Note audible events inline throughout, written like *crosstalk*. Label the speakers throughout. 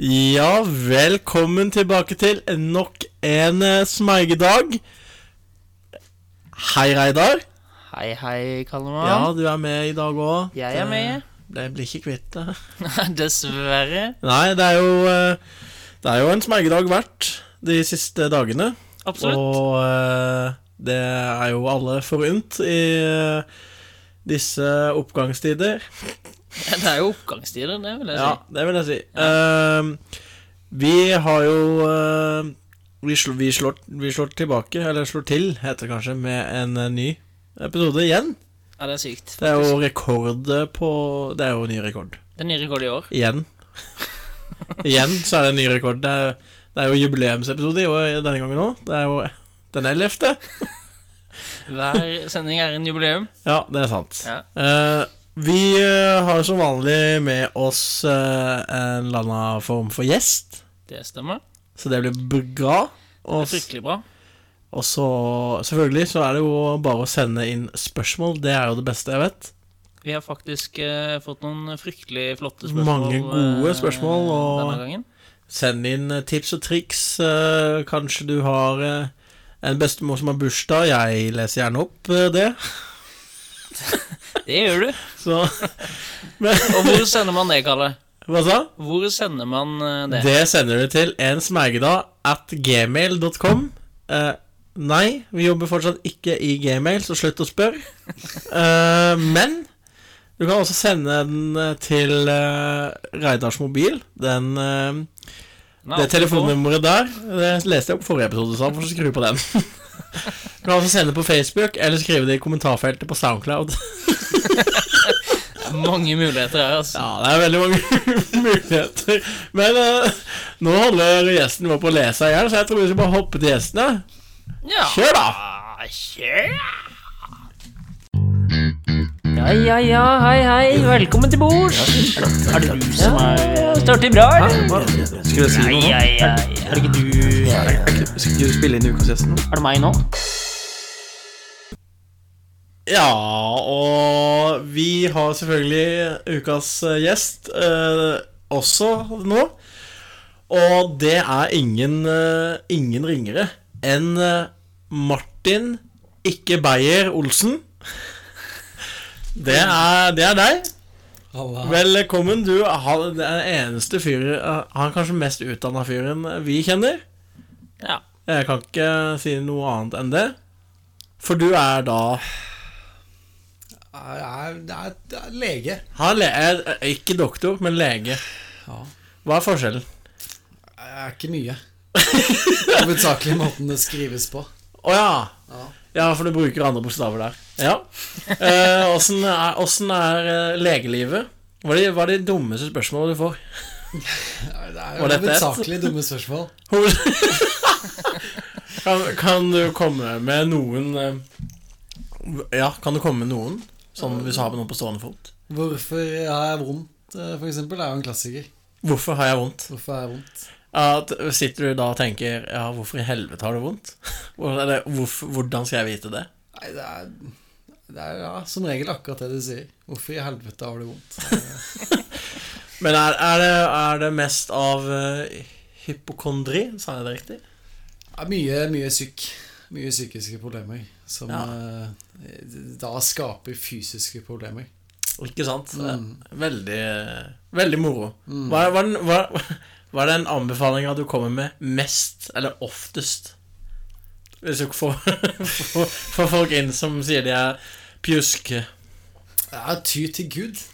Speaker 1: Ja, velkommen tilbake til nok en eh, smeigedag. Hei, Reidar.
Speaker 2: Hei, hei, Kallemann.
Speaker 1: Ja, du er med i dag òg.
Speaker 2: Jeg er med.
Speaker 1: Det blir ikke kvitt det.
Speaker 2: Dessverre.
Speaker 1: *laughs* Nei, det er jo eh, Det er jo en smeigedag verdt de siste dagene.
Speaker 2: Absolutt.
Speaker 1: Og eh, det er jo alle forunt i eh, disse oppgangstider.
Speaker 2: Det er jo oppgangstider, det vil jeg
Speaker 1: Ja, det vil jeg si. Ehm, vi har jo eh, vi, slår, vi, slår, vi slår tilbake, eller slår til, heter det kanskje, med en eh, ny episode igjen.
Speaker 2: si. Ja, det er sykt.
Speaker 1: Det er jo rekord eh, på Det er jo ny rekord.
Speaker 2: Det er ny rekord i år.
Speaker 1: Igjen. *laughs* igjen så er det en ny rekord. Det er, det er jo jubileumsepisode i år denne gangen òg. Det er jo den ellevte.
Speaker 2: Hver sending er en jubileum.
Speaker 1: Ja, det er sant.
Speaker 2: Ja.
Speaker 1: Eh, vi eh, har som vanlig med oss eh, en eller annen form for gjest.
Speaker 2: Det stemmer.
Speaker 1: Så det blir bra.
Speaker 2: Det
Speaker 1: Og,
Speaker 2: er fryktelig bra.
Speaker 1: og så selvfølgelig så er det jo bare å sende inn spørsmål. Det er jo det beste jeg vet.
Speaker 2: Vi har faktisk eh, fått noen fryktelig flotte spørsmål.
Speaker 1: Mange gode
Speaker 2: eh,
Speaker 1: spørsmål, og-
Speaker 2: Denne gangen.
Speaker 1: Send inn eh, tips og triks. eh, Kanskje du har eh, en bestemor som har bursdag. Jeg leser gjerne opp eh, det.
Speaker 2: Det gjør du.
Speaker 1: Så *laughs* Men
Speaker 2: Og hvor sender man det, Kalle?
Speaker 1: hva sa?
Speaker 2: Hvor sender man eh, det?
Speaker 1: Det sender du til ensmergeda at gmail.com. Eh, nei, vi jobber fortsatt ikke i gmail, så slutt å spørre. Eh, men du kan også sende den eh, til eh, Reidars mobil. Den, eh,
Speaker 2: Nei,
Speaker 1: det
Speaker 2: alt er
Speaker 1: telefonnummeret der det leste jeg opp i forrige episode, så han får skru på den. *laughs* Du kan også sende det på Facebook, eller skrive det i kommentarfeltet på Soundcloud.
Speaker 2: på. Mange muligheter her, altså.
Speaker 1: Ja, det er veldig mange *laughs* muligheter. Men eh, nå holder gjesten vår på å le seg i hjel, så jeg tror vi skal bare hoppe til gjestene.
Speaker 2: Ja.
Speaker 1: Kjør, da!
Speaker 2: Kjør! Ja, ja, ja, hei, hei, velkommen til bords. Er det du som er Står til bra, eller?
Speaker 3: Skulle jeg si noe?
Speaker 2: Ja, ja, ja. Er det ikke du Er
Speaker 3: Skulle du spille inn ukas gjest nå?
Speaker 2: det meg nå?
Speaker 1: Ja, og vi har selvfølgelig ukas eh, gjest eh, også nå. Og det er ingen, eh, ingen ringere enn eh, Martin Ikke Beyer Olsen. Det er, det er deg. Velkommen. Du er den eneste fyren Han er kanskje mest utdanna fyren vi kjenner.
Speaker 2: Ja.
Speaker 1: Jeg kan ikke si noe annet enn det. For du er da
Speaker 4: Jeg er, det er, det er lege.
Speaker 1: han le er, er Ikke doktor, men lege.
Speaker 4: Ja.
Speaker 1: Hva er forskjellen?
Speaker 4: Det er ikke mye. Hovedsakelig måten det skrives på.
Speaker 1: Å ja.
Speaker 4: Ja.
Speaker 1: ja, for du bruker andre bokstaver der. Ja. Eh, Åssen er, åssen er eh, legelivet? Hva er, de, hva er de dummeste spørsmålene du får?
Speaker 4: Det er
Speaker 1: Var dette et?
Speaker 4: hovedsakelig dumme spørsmål.
Speaker 1: *laughs* kan, kan du komme med noen eh, Ja, kan du komme med noen? Sånn hvis du har noen på stående fot.
Speaker 4: Hvorfor har jeg vondt, eh, for eksempel, er jo en klassiker.
Speaker 1: Hvorfor har jeg vondt?
Speaker 4: Hvorfor har jeg vondt?
Speaker 1: At sitter du da og tenker Ja, hvorfor i helvete har du vondt? *laughs* Hvor- Eller hvorfor, hvordan skal jeg vite det?
Speaker 4: Nei, det er, det er ja, som regel akkurat det du sier. Hvorfor i helvete har du vondt?
Speaker 1: Men er, er, det, er det mest av eh, hypokondri? Sa jeg det riktig?
Speaker 4: Det er mye, mye syk. Mye psykiske problemer som eh, da skaper fysiske problemer.
Speaker 1: Ikke sant?
Speaker 4: Mm.
Speaker 1: Veldig, veldig moro. Hva, er- hva, er den- hva, hva er den anbefalinga du kommer med mest, eller oftest? Hvis du får, *laughs* får, får folk inn som sier de er pjuske.
Speaker 4: Det er ty til Gud.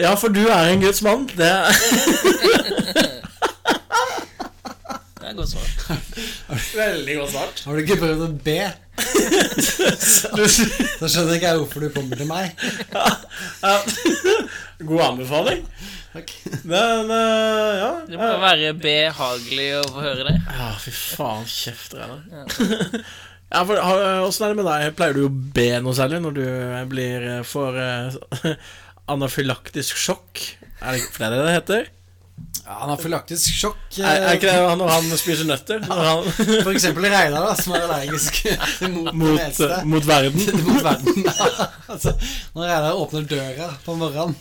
Speaker 1: Ja, for du er en Guds mann. Det er
Speaker 2: Det er godt svar.
Speaker 1: veldig godt svart.
Speaker 4: Har du ikke prøvd å be? Da skjønner ikke jeg hvorfor du kommer til meg.
Speaker 1: *laughs* God anbefaling.
Speaker 4: Takk.
Speaker 1: Men eh, ja.
Speaker 2: Det må være behagelig å få høre det.
Speaker 1: Ja, fy faen, kjeft, Reidar. *laughs* Ja, for har- Åssen er det med deg? Pleier du å be noe særlig når du blir eh, *laughs* for eh, anafylaktisk sjokk? Er det, for det er det det heter?
Speaker 4: Ja, han har profylaktisk sjokk. eh,
Speaker 1: Er, er ikke det han når han spiser nøtter? Når han,
Speaker 4: For eksempel Reinar, da, som er allergisk mot, den
Speaker 1: mot, eh,
Speaker 4: eldste.
Speaker 1: mot verden?
Speaker 4: *laughs* mot verden. altså, når Reinar åpner døra på morgenen,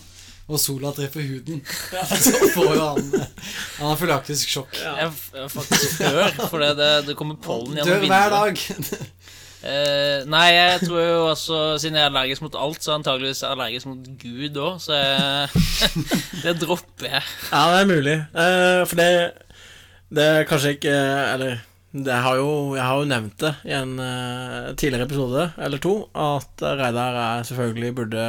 Speaker 4: og sola treffer huden, *laughs* så får jo han eh, Han har profylaktisk sjokk.
Speaker 2: Jeg, f- jeg faktisk dør, for det, det, det kommer pollen gjennom
Speaker 4: Dør hver dag. *laughs*
Speaker 2: Eh, nei, jeg tror jo også Siden jeg er allergisk mot alt, så er jeg antageligvis allergisk mot Gud òg, så jeg, *laughs* det dropper jeg.
Speaker 1: Ja, det er mulig. Eh, for det Det er kanskje ikke Eller det har jo, jeg har jo nevnt det i en eh, tidligere episode eller to, at Reidar er selvfølgelig burde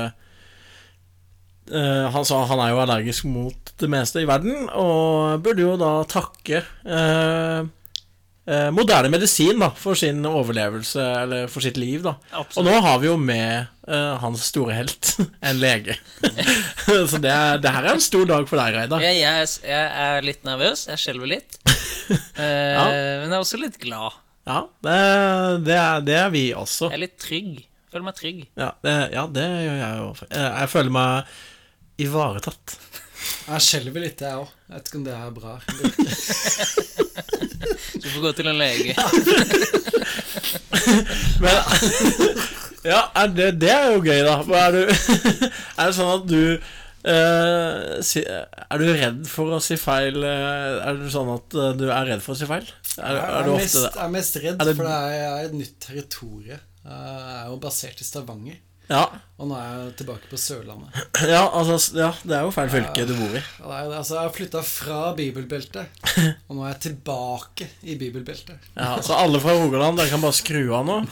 Speaker 1: eh, Han sa han er jo allergisk mot det meste i verden, og burde jo da takke eh, eh, moderne medisin da for sin overlevelse, eller for sitt liv, da. Og
Speaker 2: Absolutt.
Speaker 1: nå har vi jo med eh, hans store helt, *laughs* en lege. Så det, er, det her er en stor dag for deg, Reidar.
Speaker 2: Jeg, jeg, jeg er litt nervøs. Jeg skjelver *laughs* litt. Eh,
Speaker 1: Ja.
Speaker 2: Men jeg er også litt glad.
Speaker 1: Ja, det, det, er, det er vi også.
Speaker 2: Jeg er litt trygg. Føler meg trygg.
Speaker 1: Ja, det, ja, det gjør jeg jo. Eh, Jeg føler meg ivaretatt.
Speaker 4: Jeg skjelver litt, jeg òg. Jeg vet ikke om det er bra.
Speaker 2: Du får gå til en lege.
Speaker 1: Men *laughs* Ja, er det, det er jo gøy, da. Hva Er, du, *laughs* er det sånn at du eh, si, Er du redd for å si feil? eh, Er det sånn at eh, du er redd for å si feil? Er,
Speaker 4: Jeg
Speaker 1: er du
Speaker 4: er mest,
Speaker 1: ofte det?
Speaker 4: jeg er mest redd,
Speaker 1: Er det-
Speaker 4: for det er, jeg er et nytt territorium. Jeg er jo basert i Stavanger,
Speaker 1: Ja,
Speaker 4: og nå er jeg tilbake på Sørlandet.
Speaker 1: ja, altså, s- ja, det er jo feil fylke du bor i.
Speaker 4: Ja, det er jo det. Altså, jeg har flytta fra bibelbeltet, og nå er jeg tilbake i bibelbeltet.
Speaker 1: Ja, så alle fra Rogaland, dere kan bare skru av nå.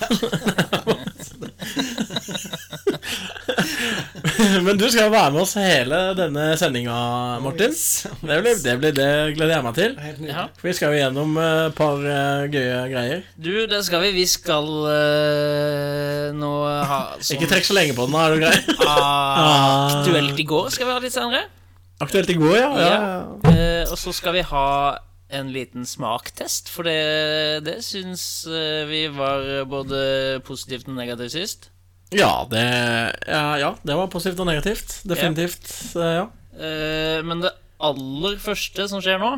Speaker 1: Men du skal være med oss hele denne sendinga, Martin. Det, blir, det, blir, det gleder jeg meg til.
Speaker 4: Det er Helt
Speaker 2: Ja.
Speaker 4: nydelig.
Speaker 1: For vi skal jo gjennom eh, et par eh, gøye greier.
Speaker 2: Du, det skal vi. Vi skal eh, nå ha sånn
Speaker 1: Ikke trekk så lenge på den, da, er du grei?
Speaker 2: Ah, Aktuelt i går skal vi ha litt senere.
Speaker 1: *laughs* Aktuelt i går, ja. ja. ja.
Speaker 2: Eh, og så skal vi ha en liten smaktest, for det, det syns eh, vi var både positivt og negativt sist.
Speaker 1: Ja, det, ja, ja, det var positivt og negativt. Definitivt. eh, Ja.
Speaker 2: Eh, men det aller første som skjer nå,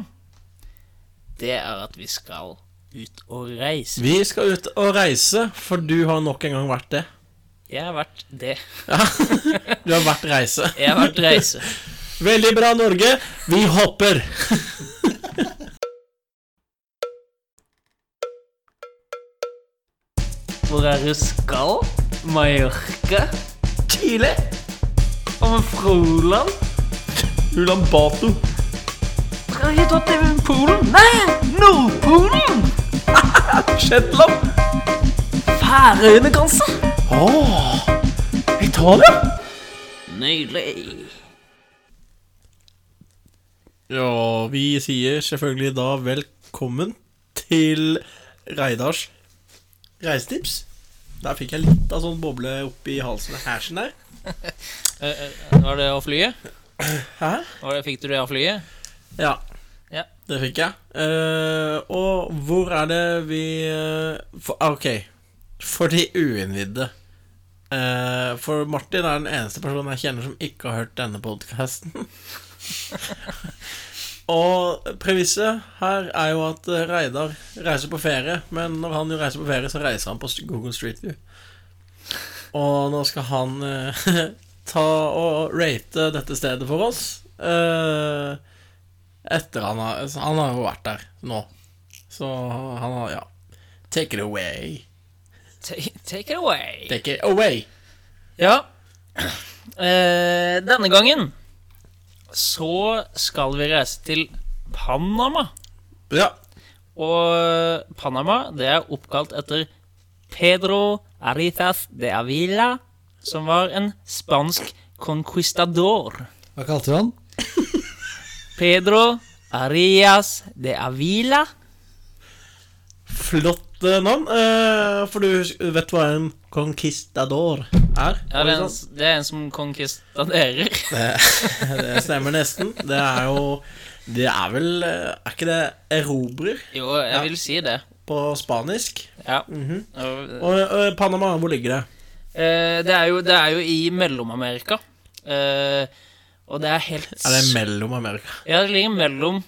Speaker 2: det er at vi skal ut og reise.
Speaker 1: Vi skal ut og reise, for du har nok en gang vært det.
Speaker 2: Jeg har vært det.
Speaker 1: Du har vært reise.
Speaker 2: Jeg har vært reise.
Speaker 1: Veldig bra, Norge. Vi hopper.
Speaker 2: Hvor er du skal? Mallorca?
Speaker 1: Chile.
Speaker 2: Og med Froland?
Speaker 1: Ulan Bato.
Speaker 2: Skal vi ta til Polen? Nei, Nordpolen!
Speaker 1: Shetland.
Speaker 2: Færøyene, kanskje?
Speaker 1: Åh, Italia?
Speaker 2: Nydelig.
Speaker 1: Ja, vi sier selvfølgelig da velkommen til Reidars reisetips. Der fikk jeg litt av sånn boble oppi halsen og hersen der.
Speaker 2: Eh, eh, var det å flyet?
Speaker 1: Hæ?
Speaker 2: Var det, fikk du det av flyet?
Speaker 1: Ja.
Speaker 2: Ja.
Speaker 1: Det fikk jeg. Eh, og hvor er det vi eh, for, ah, Ok, for de uinnvidde. Eh, for Martin er den eneste personen jeg kjenner som ikke har hørt denne podkasten. *laughs* og premisset her er jo at eh, Reidar reiser på ferie, men når han jo reiser på ferie, så reiser han på st- Google Street View. Og nå skal han eh, *laughs* ta og rate dette stedet for oss. Eh, etter han har altså, Han har jo vært der nå. Så han har Ja. Take it away.
Speaker 2: Take, take it away.
Speaker 1: Take it away.
Speaker 2: Ja. Eh, denne gangen så skal vi reise til Panama.
Speaker 1: Ja.
Speaker 2: Og Panama det er oppkalt etter Pedro Arizas de Avila, som var en spansk conquistador.
Speaker 4: Hva kalte du han?
Speaker 2: Pedro Arias de Avila.
Speaker 1: Flott eh, navn. eh, for du hus- vet hva en conquistador er?
Speaker 2: Ja, det, er en, det er en som conquistaderer.
Speaker 1: Det stemmer nesten. Det er jo Det er vel eh, Er ikke det erobrer
Speaker 2: *laughs* Jo, jeg vil si det.
Speaker 1: på spanisk?
Speaker 2: Ja. Og-
Speaker 1: Og eh, Panama, hvor ligger det?
Speaker 2: Eh, det, er jo, det er jo i Mellom-Amerika. Eh, Og det er helt
Speaker 1: Er det mellom Amerika?
Speaker 2: Ja, det ligger mellom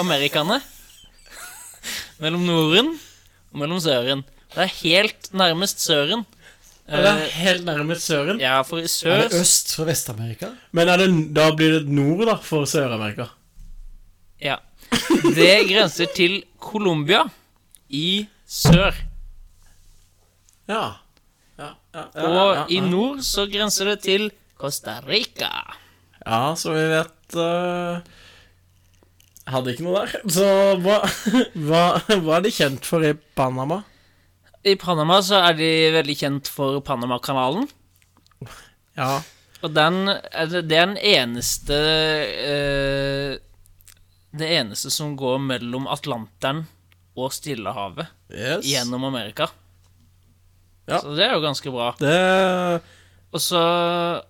Speaker 2: Amerikane. mellom Norden og mellom Søren. Det er helt nærmest Søren.
Speaker 1: Ja, det er helt nærmest søren.
Speaker 2: Eh, ja, for i
Speaker 4: Er
Speaker 2: sør
Speaker 4: det øst fra Vest-Amerika?
Speaker 1: Men er det, da blir det nord, da, for Sør-Amerika.
Speaker 2: Ja. Det grenser til Colombia i sør.
Speaker 1: Ja. Ja, ja, ja, ja,
Speaker 2: Og i
Speaker 1: ja.
Speaker 2: nord så grenser det til Costa Rica.
Speaker 1: ja så vi vet eh, Hadde ikke noe der. Så hva, *laughs* hva, hva er de kjent for i Panama?
Speaker 2: I Panama så er de veldig kjent for Panamakanalen.
Speaker 1: Ja.
Speaker 2: Og den, er det det er den eneste eh, Det eneste som går mellom Atlanteren og Stillehavet
Speaker 1: Yes.
Speaker 2: gjennom Amerika.
Speaker 1: Ja.
Speaker 2: Så det er jo ganske bra.
Speaker 1: Det
Speaker 2: Og så,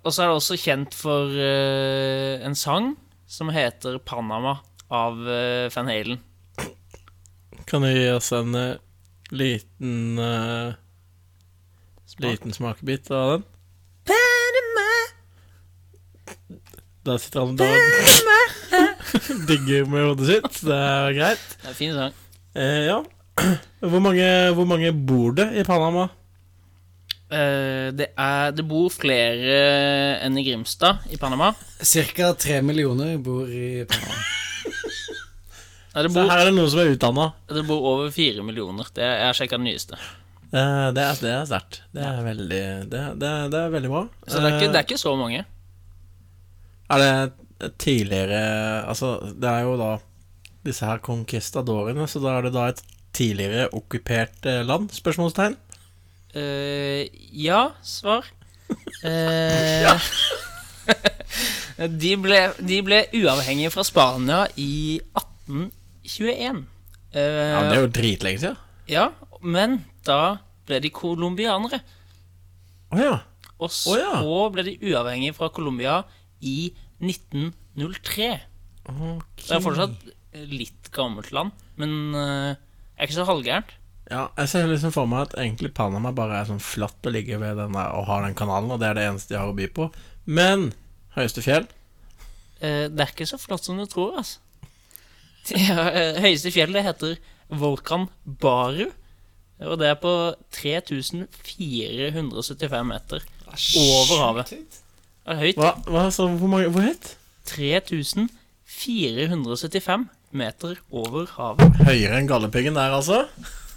Speaker 2: og så er det også kjent for eh, en sang som heter 'Panama' av eh, Van Halen.
Speaker 1: kan jo gi oss en eh, liten eh, Liten smakebit av den. Der sitter han og *laughs* digger med hodet sitt. Det er greit.
Speaker 2: Det er en fin sang.
Speaker 1: Eh, ja. *clears throat* Hvor mange, hvor mange bor det i Panama?
Speaker 2: Eh, det, er, det bor flere enn i Grimstad i Panama.
Speaker 4: Cirka tre millioner bor i Panama.
Speaker 2: Nei, det,
Speaker 1: Så
Speaker 2: bor,
Speaker 1: her er det noen som er utdanna.
Speaker 2: det bor over fire millioner. Det, jeg har sjekka den nyeste.
Speaker 1: Eh, det er, det er sterkt. Det er veldig det, det, det er veldig bra.
Speaker 2: Så det er ikke, det er ikke så mange.
Speaker 1: Eh, er det tidligere Altså, det er jo da disse her conquistadorene, så da er det da et tidligere okkupert eh, land? Spørsmålstegn.
Speaker 2: Eh, ja,
Speaker 1: *laughs*
Speaker 2: svar. Eh, *laughs* de, ble, de ble uavhengige fra Spania i 1821. Eh,
Speaker 1: Ja, men Det er jo dritlenge siden.
Speaker 2: ja, men da ble de colombianere.
Speaker 1: Å ja.
Speaker 2: Og så
Speaker 1: Å, ja.
Speaker 2: ble de uavhengige fra Colombia i 1903. Det er fortsatt litt gammelt land, men eh, er ikke så halvgærent.
Speaker 1: Ja, jeg ser liksom for meg at egentlig Panama bare er sånn flatt og ligger ved den der og har den kanalen, og det er det eneste de har å by på. Men høyeste fjell
Speaker 2: Eh, det er ikke så flott som du tror, *laughs* altså. Det er, eh, høyeste fjellet heter Volkan Baru, og det er på 3475 meter *laughs* over
Speaker 4: Ah,
Speaker 2: havet. Det er høyt.
Speaker 1: Hva, hva så hvor, mange, hvor høyt?
Speaker 2: 3475 meter over havet.
Speaker 1: Høyere enn Galdhøpiggen der, altså?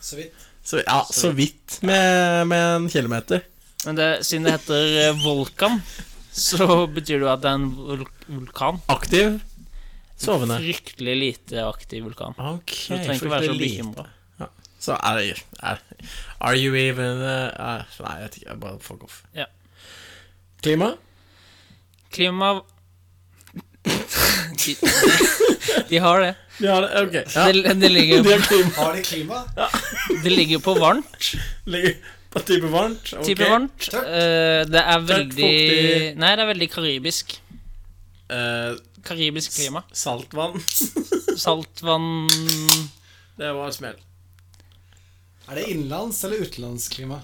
Speaker 4: Så vidt.
Speaker 1: Så, ja, så vidt med, med en kilometer.
Speaker 2: Men det, siden det heter eh, Volkan, så betyr det jo at det er en vul vulkan.
Speaker 1: Aktiv. Sovende.
Speaker 2: Fryktelig lite aktiv vulkan.
Speaker 1: Ok,
Speaker 2: Du trenger ikke være så
Speaker 1: fryktelig lite.
Speaker 2: bekymra.
Speaker 1: Så er det er, Are you even uh, er- Nei, jeg vet ikke. jeg Bare fuck off.
Speaker 2: Ja.
Speaker 1: Klima?
Speaker 2: Klima... *laughs* De, de har det.
Speaker 1: Ja, det, ok. Ja.
Speaker 2: Det, det,
Speaker 1: *laughs* Det
Speaker 2: ligger,
Speaker 1: er klima.
Speaker 4: Har de klima?
Speaker 2: det ligger på varmt.
Speaker 1: Ligger på type varmt. ok.
Speaker 2: Type varmt. Eh, det er veldig
Speaker 1: fuktig.
Speaker 2: Nei, det er veldig karibisk.
Speaker 1: Eh,
Speaker 2: Karibisk klima.
Speaker 1: saltvann. *laughs*
Speaker 2: Saltvann
Speaker 1: Det var et smell.
Speaker 4: Er det innenlands- eller
Speaker 1: *laughs*
Speaker 4: utenlandsklima?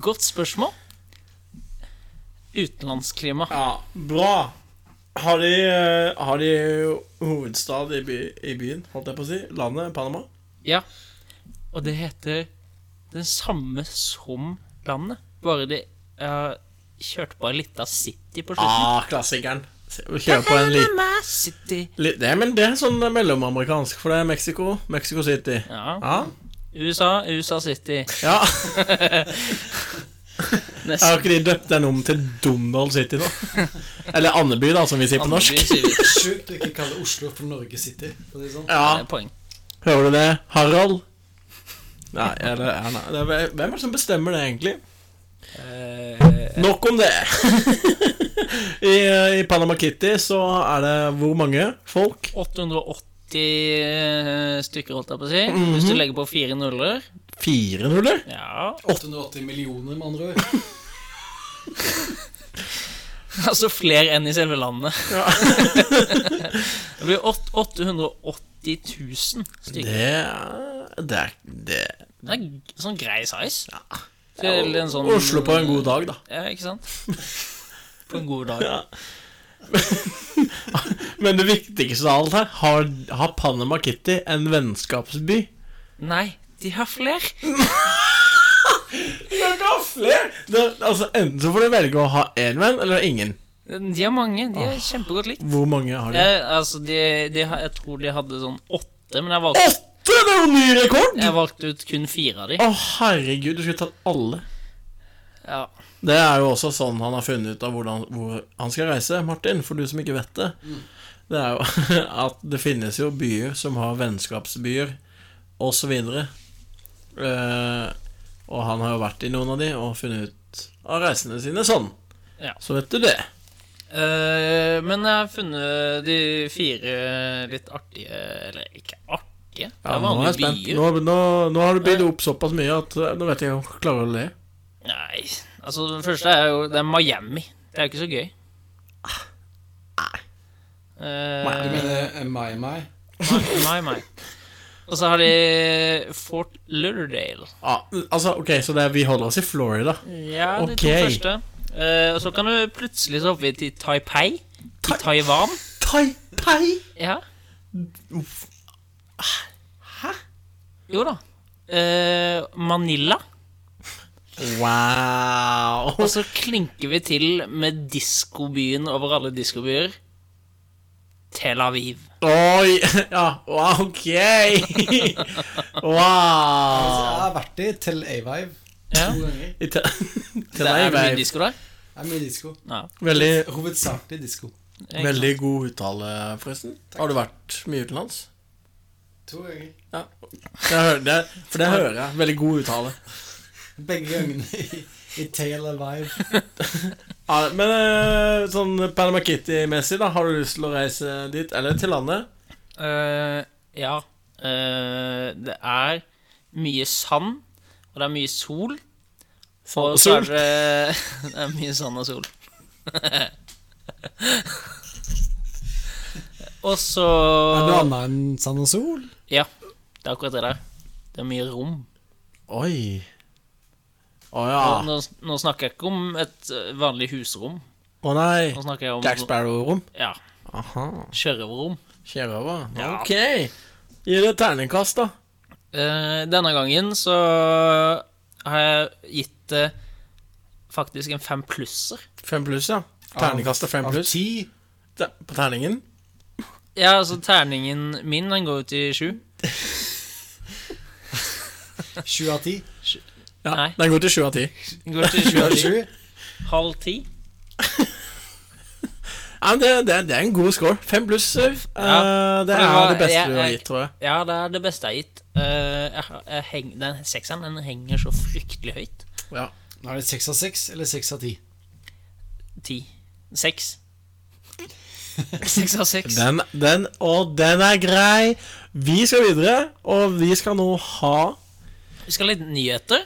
Speaker 2: Godt spørsmål. Utenlandsklima.
Speaker 1: Ja, bra. Har de, eh, har de hovedstad i, by, i byen, holdt jeg på å si? Landet Panama?
Speaker 2: Ja. Og det heter den samme som landet. Bare de uh, kjørte på en lita city på slutten.
Speaker 1: Ah, klassikeren. Se, Kjør på en liten
Speaker 2: City.
Speaker 1: li, Det, men det er sånn mellomamerikansk, for det er Mexico. Mexico City.
Speaker 2: Ja.
Speaker 1: Ja.
Speaker 2: USA, USA City.
Speaker 1: Ah. *laughs* ja.
Speaker 2: Nesten.
Speaker 1: Har ikke de døpt den om til Donald City, da? Eller Andeby, da, som vi sier på norsk.
Speaker 2: Andeby sier vi.
Speaker 4: Sjukt å ikke kalle Oslo for Norge City. For å si det sånn.
Speaker 2: Ja,
Speaker 1: Ja,
Speaker 2: det er poeng.
Speaker 1: hører du det, Harald? Nei, eller ja, nei. Det er- Hvem er det som bestemmer det, egentlig? Nok om det. *laughs* I, I Panama Kitty så er det hvor mange folk?
Speaker 2: 880 eh, stykker, holdt jeg på å si.
Speaker 1: Mhm.
Speaker 2: Hvis du legger på fire nuller.
Speaker 1: 400?
Speaker 2: Ja, *laughs*
Speaker 4: 880 millioner, med andre ord.
Speaker 2: altså flere enn i selve landet. *laughs* det blir åt- 880 000
Speaker 1: Det
Speaker 2: stykker.
Speaker 1: er Det er det.
Speaker 2: Det er en g- sånn grei size. Til en sånn
Speaker 1: Oslo på en god dag, da.
Speaker 2: Ja, ikke sant? *laughs* på en god dag.
Speaker 1: Men det viktigste av alt her, har, har Panama Kitty en vennskapsby?
Speaker 2: Nei, de har flere.
Speaker 1: Det, altså, enten så får du velge å ha én venn eller ingen.
Speaker 2: De har mange. De er kjempegodt likt.
Speaker 1: Hvor mange har de?
Speaker 2: Jeg, altså, de, de, har- jeg tror de hadde sånn åtte, men jeg valgte,
Speaker 1: Åtte! Det er jo ny rekord!
Speaker 2: jeg valgte ut kun fire av de.
Speaker 1: Å, herregud, du skulle tatt alle.
Speaker 2: Ja.
Speaker 1: Det er jo også sånn han har funnet ut av hvordan, hvor han skal reise, Martin, for du som ikke vet det.
Speaker 2: Mm.
Speaker 1: Det er jo *laughs* at det finnes jo byer som har vennskapsbyer, osv. Eh, og han har jo vært i noen av de og funnet ut av reisene sine sånn.
Speaker 2: Ja.
Speaker 1: Så vet du det.
Speaker 2: Eh, men jeg har funnet de fire litt artige Eller ikke artige. Det
Speaker 1: Ja,
Speaker 2: er
Speaker 1: nå er jeg
Speaker 2: vanlige
Speaker 1: spent.
Speaker 2: bier.
Speaker 1: Nå, nå, nå har du bydd opp såpass mye at eh, nå vet jeg ikke om jeg klarer å le.
Speaker 2: Nei, altså den første er jo Det er Miami. Det er jo ikke så gøy.
Speaker 1: Ah.
Speaker 4: Du
Speaker 2: Nei.
Speaker 4: mener eh, Mai Mai?
Speaker 2: Mai, mai. Og så har de Fort Lauderdale.
Speaker 1: Ah, altså, ok, Så det er, vi holder oss i Florida.
Speaker 2: Ja, de
Speaker 1: Ok.
Speaker 2: to første. Eh, og så kan du plutselig så hoppe til Taipei. Til Taiwan.
Speaker 1: Taipei!
Speaker 2: *laughs* Ja. Hæ? Jo da. Eh, Manila.
Speaker 1: Wow!
Speaker 2: Og så klinker vi til med diskobyen over alle diskobyer. Tel Aviv.
Speaker 1: Oi! *laughs* Ja, wow, *laughs* ok!
Speaker 4: Altså, jeg
Speaker 1: Wow!
Speaker 4: har vært i Tel Aviv
Speaker 2: Ah. Ja.
Speaker 4: to ganger.
Speaker 1: I te- *laughs* Tel
Speaker 2: Det er mye
Speaker 1: Aviv.
Speaker 2: disko der.
Speaker 4: Det er mye disko.
Speaker 2: Ja.
Speaker 1: Veldig,
Speaker 4: Eh, Hovedsakelig disko.
Speaker 2: ikke
Speaker 1: veldig god uttale, forresten. Har du vært mye utenlands?
Speaker 4: To ganger.
Speaker 1: Ja. Jeg hører det, for det hører jeg. Veldig god uttale.
Speaker 4: Begge gangene i, i Tel Aviv.
Speaker 2: Ah.
Speaker 1: Ja, men eh, sånn Panama Kitty-messig, da, har du lyst til å reise dit? Eller til landet?
Speaker 2: sant. Eh, ja. Eh, det er mye sand, og det er mye sol.
Speaker 1: Sand og
Speaker 2: og så
Speaker 1: sol.
Speaker 2: er det, det *laughs* er mye sand og
Speaker 1: *laughs*
Speaker 2: sol. og så
Speaker 4: Er det noe annet enn sand og sol?
Speaker 2: Ja, det er akkurat det der. Det er mye rom.
Speaker 1: Oi. Å ja.
Speaker 2: Og Nå, nå snakker jeg ikke om et eh, vanlig husrom.
Speaker 1: Å nei.
Speaker 2: Nå snakker jeg om
Speaker 1: Jack Sparrow-rom.
Speaker 2: Ja,
Speaker 1: Aha.
Speaker 2: sjørøverrom.
Speaker 1: Sjørøver.
Speaker 2: Ja.
Speaker 1: Ok. Gi det et terningkast, da.
Speaker 2: Eh, denne gangen så har jeg gitt det faktisk en fem plusser.
Speaker 1: Fem pluss, ja. Terningkastet fem
Speaker 4: Av
Speaker 1: pluss.
Speaker 4: ti?
Speaker 1: Te- På terningen?
Speaker 2: Ja, altså terningen min, den går ut i sju.
Speaker 4: Sju av ti?
Speaker 1: Ja,
Speaker 2: Nei.
Speaker 1: Den går til sju av ti.
Speaker 2: Den går ut
Speaker 4: *laughs*
Speaker 2: i sju av ti.
Speaker 4: Sju?
Speaker 2: Halv ti.
Speaker 1: Ja, men det, det, det er en god score. Fem pluss. eh,
Speaker 2: Ja,
Speaker 1: det
Speaker 2: for det
Speaker 1: er
Speaker 2: var-
Speaker 1: det beste
Speaker 2: jeg-
Speaker 1: du har
Speaker 2: jeg-
Speaker 1: gitt, tror jeg.
Speaker 2: Ja, det er det beste jeg har gitt. Eh, jeg, har- jeg heng, den sekseren den henger så fryktelig høyt.
Speaker 1: Ja.
Speaker 4: Nå er det seks av seks eller seks av ti?
Speaker 2: Ti. Seks. Seks av seks.
Speaker 1: Den, den, og den er grei. Vi skal videre, og vi skal nå ha
Speaker 2: Vi skal ha litt nyheter.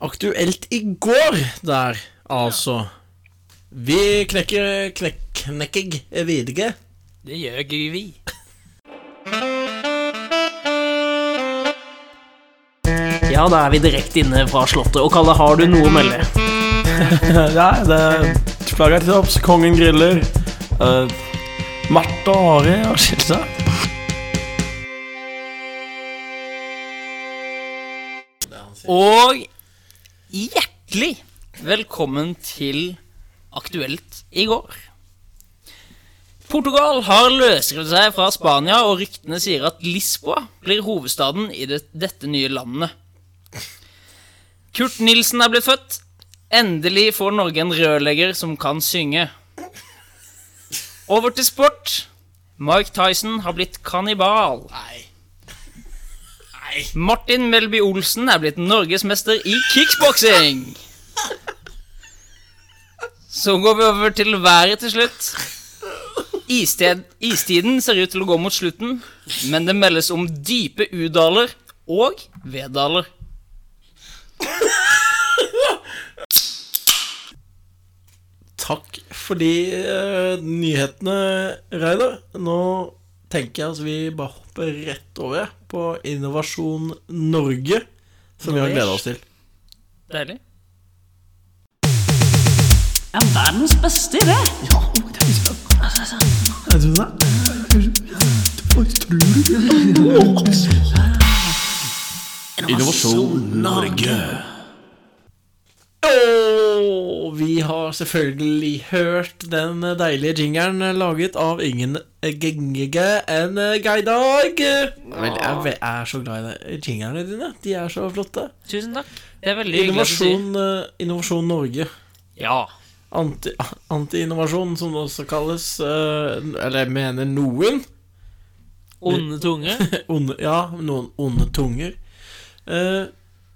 Speaker 1: Aktuelt i går der, altså. Vi knekker knek, Knekkeg videre.
Speaker 2: Det gjør ikke vi. Ja, da er vi direkte inne fra Slottet. Og Kalle, har du noe å melde?
Speaker 3: Ja, det flagget er til topps. Kongen griller. Uh, Marte og Ari har skilt seg.
Speaker 2: Og hjertelig velkommen til Aktuelt i går. Portugal har løsrevet seg fra Spania, og ryktene sier at Lisboa blir hovedstaden i det, dette nye landet. Kurt Nilsen er blitt født. Endelig får Norge en rørlegger som kan synge. Over til sport. Mike Tyson har blitt kannibal. Martin Melby Olsen er blitt norgesmester i kickboksing. Så går vi over til været til slutt. Isted, istiden ser ut til å gå mot slutten, men det meldes om dype udaler og veddaler.
Speaker 1: Takk for de eh, nyhetene, Reidar. Nå tenker jeg at vi bare hopper rett over på Innovasjon Norge, som vi har gleda oss til.
Speaker 2: Deilig.
Speaker 5: er verdens beste idé.
Speaker 3: Innovasjon Norge.
Speaker 1: Og vi har selvfølgelig hørt den deilige jingeren laget av ingen gengige enn Geidag. Vel, jeg ve- jeg er så glad i de jingerne dine. De er så flotte.
Speaker 2: Tusen takk. Det er veldig hyggelig at du sier.
Speaker 1: Innovasjon, eh, innovasjon Norge.
Speaker 2: Ja.
Speaker 1: Anti- Anti-innovasjon, som det også kalles. eh, Eller jeg mener noen. *laughs*
Speaker 2: Onde tunge.
Speaker 1: Onde, ja, noen onde tunger. Eh,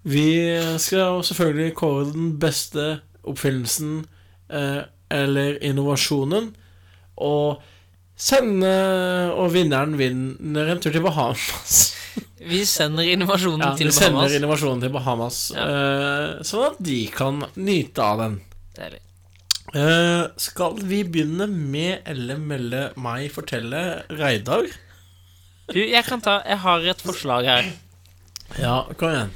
Speaker 1: vi skal selvfølgelig kåre den beste oppfinnelsen eh, eller innovasjonen. Og sende Og vinneren vinner en tur til Bahamas.
Speaker 2: Vi sender innovasjonen
Speaker 1: Ja,
Speaker 2: til
Speaker 1: vi
Speaker 2: Bahamas.
Speaker 1: sender innovasjonen til Bahamas,
Speaker 2: Ja.
Speaker 1: eh, sånn at de kan nyte av den.
Speaker 2: Deilig.
Speaker 1: Eh, skal vi begynne med Elle melde meg fortelle Reidar?
Speaker 2: Du, jeg kan ta Jeg har et forslag her.
Speaker 1: Ja, kom igjen.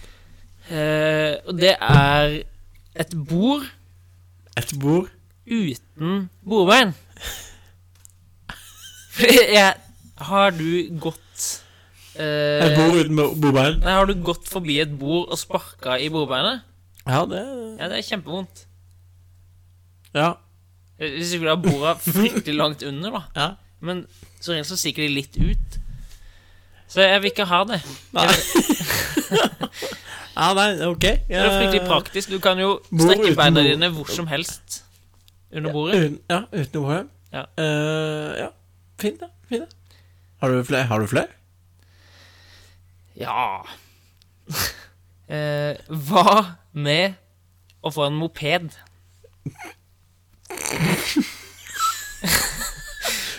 Speaker 2: Eh, Og det er et bord
Speaker 1: Et bord.
Speaker 2: uten bordbein. Fordi jeg Har du gått eh,
Speaker 1: Et bord uten bo- bordbein.
Speaker 2: Nei, har du gått forbi et bord og sparka i bordbeinet?
Speaker 1: Ja, det
Speaker 2: Ja, det er kjempevondt.
Speaker 1: Ja.
Speaker 2: Hvis ikke du har borda fryktelig langt under, da.
Speaker 1: ja.
Speaker 2: Men så regel så stikker de litt ut. Så jeg vil ikke ha det.
Speaker 1: nei, ok.
Speaker 2: Det er fryktelig praktisk. Du kan jo
Speaker 1: Eh, Bord
Speaker 2: strekke
Speaker 1: uten
Speaker 2: beina
Speaker 1: bord.
Speaker 2: dine hvor som helst under bordet.
Speaker 1: Eh, Uten, ja, uten OHM.
Speaker 2: Ja.
Speaker 1: Eh, ja. Fint, da. Fint, da. Har du flere? Har du flere? *laughs*
Speaker 2: Ja eh, Hva med å få en moped?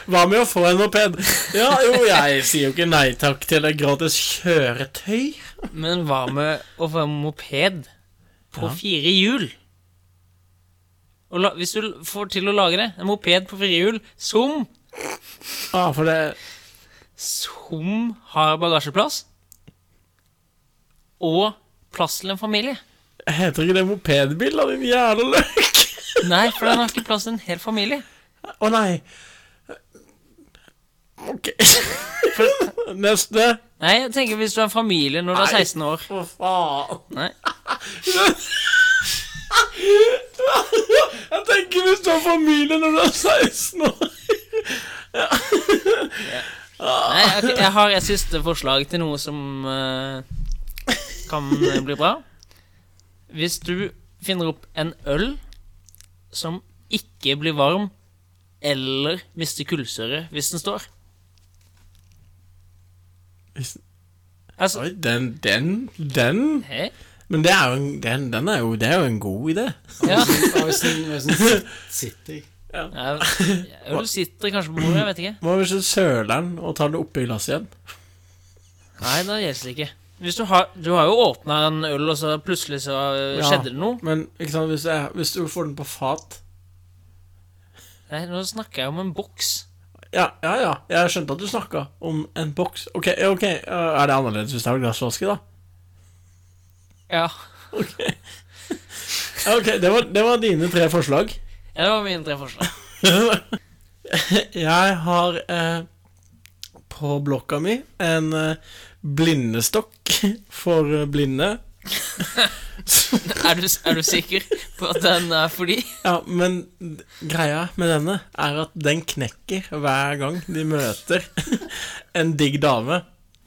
Speaker 1: Hva med å få en moped? *laughs* Ja, jo, jeg sier jo ikke nei takk til et gratis kjøretøy.
Speaker 2: Men hva med å få en moped på
Speaker 1: Ja.
Speaker 2: fire hjul? Og la, hvis du l- får til å lage det, en moped på fire hjul som
Speaker 1: Ja, for det
Speaker 2: som har bagasjeplass, og plass til en familie.
Speaker 1: Heter ikke det mopedbil, da, din jævla løk?
Speaker 2: Nei, for den har ikke plass til en hel familie.
Speaker 1: Å nei. Ok. *laughs* Neste.
Speaker 2: Nei, jeg tenker hvis du er en familie når du er
Speaker 1: Nei.
Speaker 2: 16 år.
Speaker 1: Hva faen?
Speaker 2: Nei.
Speaker 1: Jeg tenker hvis du har familie når du er 16 år.
Speaker 2: Nei, ok, jeg har et siste forslag til noe som eh, kan eh, bli bra. Hvis du finner opp en øl som ikke blir varm eller mister kullsyre hvis den står
Speaker 1: Hvis-
Speaker 2: Altså
Speaker 1: Oi, den, den, den
Speaker 2: hei,
Speaker 1: Men det er jo en, den, den er jo, det er jo en god idé.
Speaker 2: ja.
Speaker 4: Øysen sitter.
Speaker 2: Ja, Øl sitter kanskje på bordet, jeg vet ikke.
Speaker 1: Hva hvis du søler den og tar det oppi glasset igjen?
Speaker 2: Nei, da gjelder det ikke. Hvis du har, du har jo åpna en øl, og så plutselig så eh,
Speaker 1: Ja.
Speaker 2: skjedde det noe.
Speaker 1: Men ikke sant, hvis, jeg, hvis du får den på fat
Speaker 2: Nei, nå snakker jeg om en boks.
Speaker 1: Ja, ja, ja, jeg skjønte at du snakka om en boks. Ok, ja, ok, eh, Er det annerledes hvis det er glassflaske, da?
Speaker 2: Ja.
Speaker 1: Ja, Ok, det var, det var dine tre forslag.
Speaker 2: ja det var mine tre forslag.
Speaker 1: *laughs* Jeg har eh, på blokka mi en eh, blindestokk *laughs* for eh, blinde.
Speaker 2: Er du, er du sikker på at den er for de?
Speaker 1: Ja, men greia med denne er at den knekker hver gang de møter *laughs* en digg dame.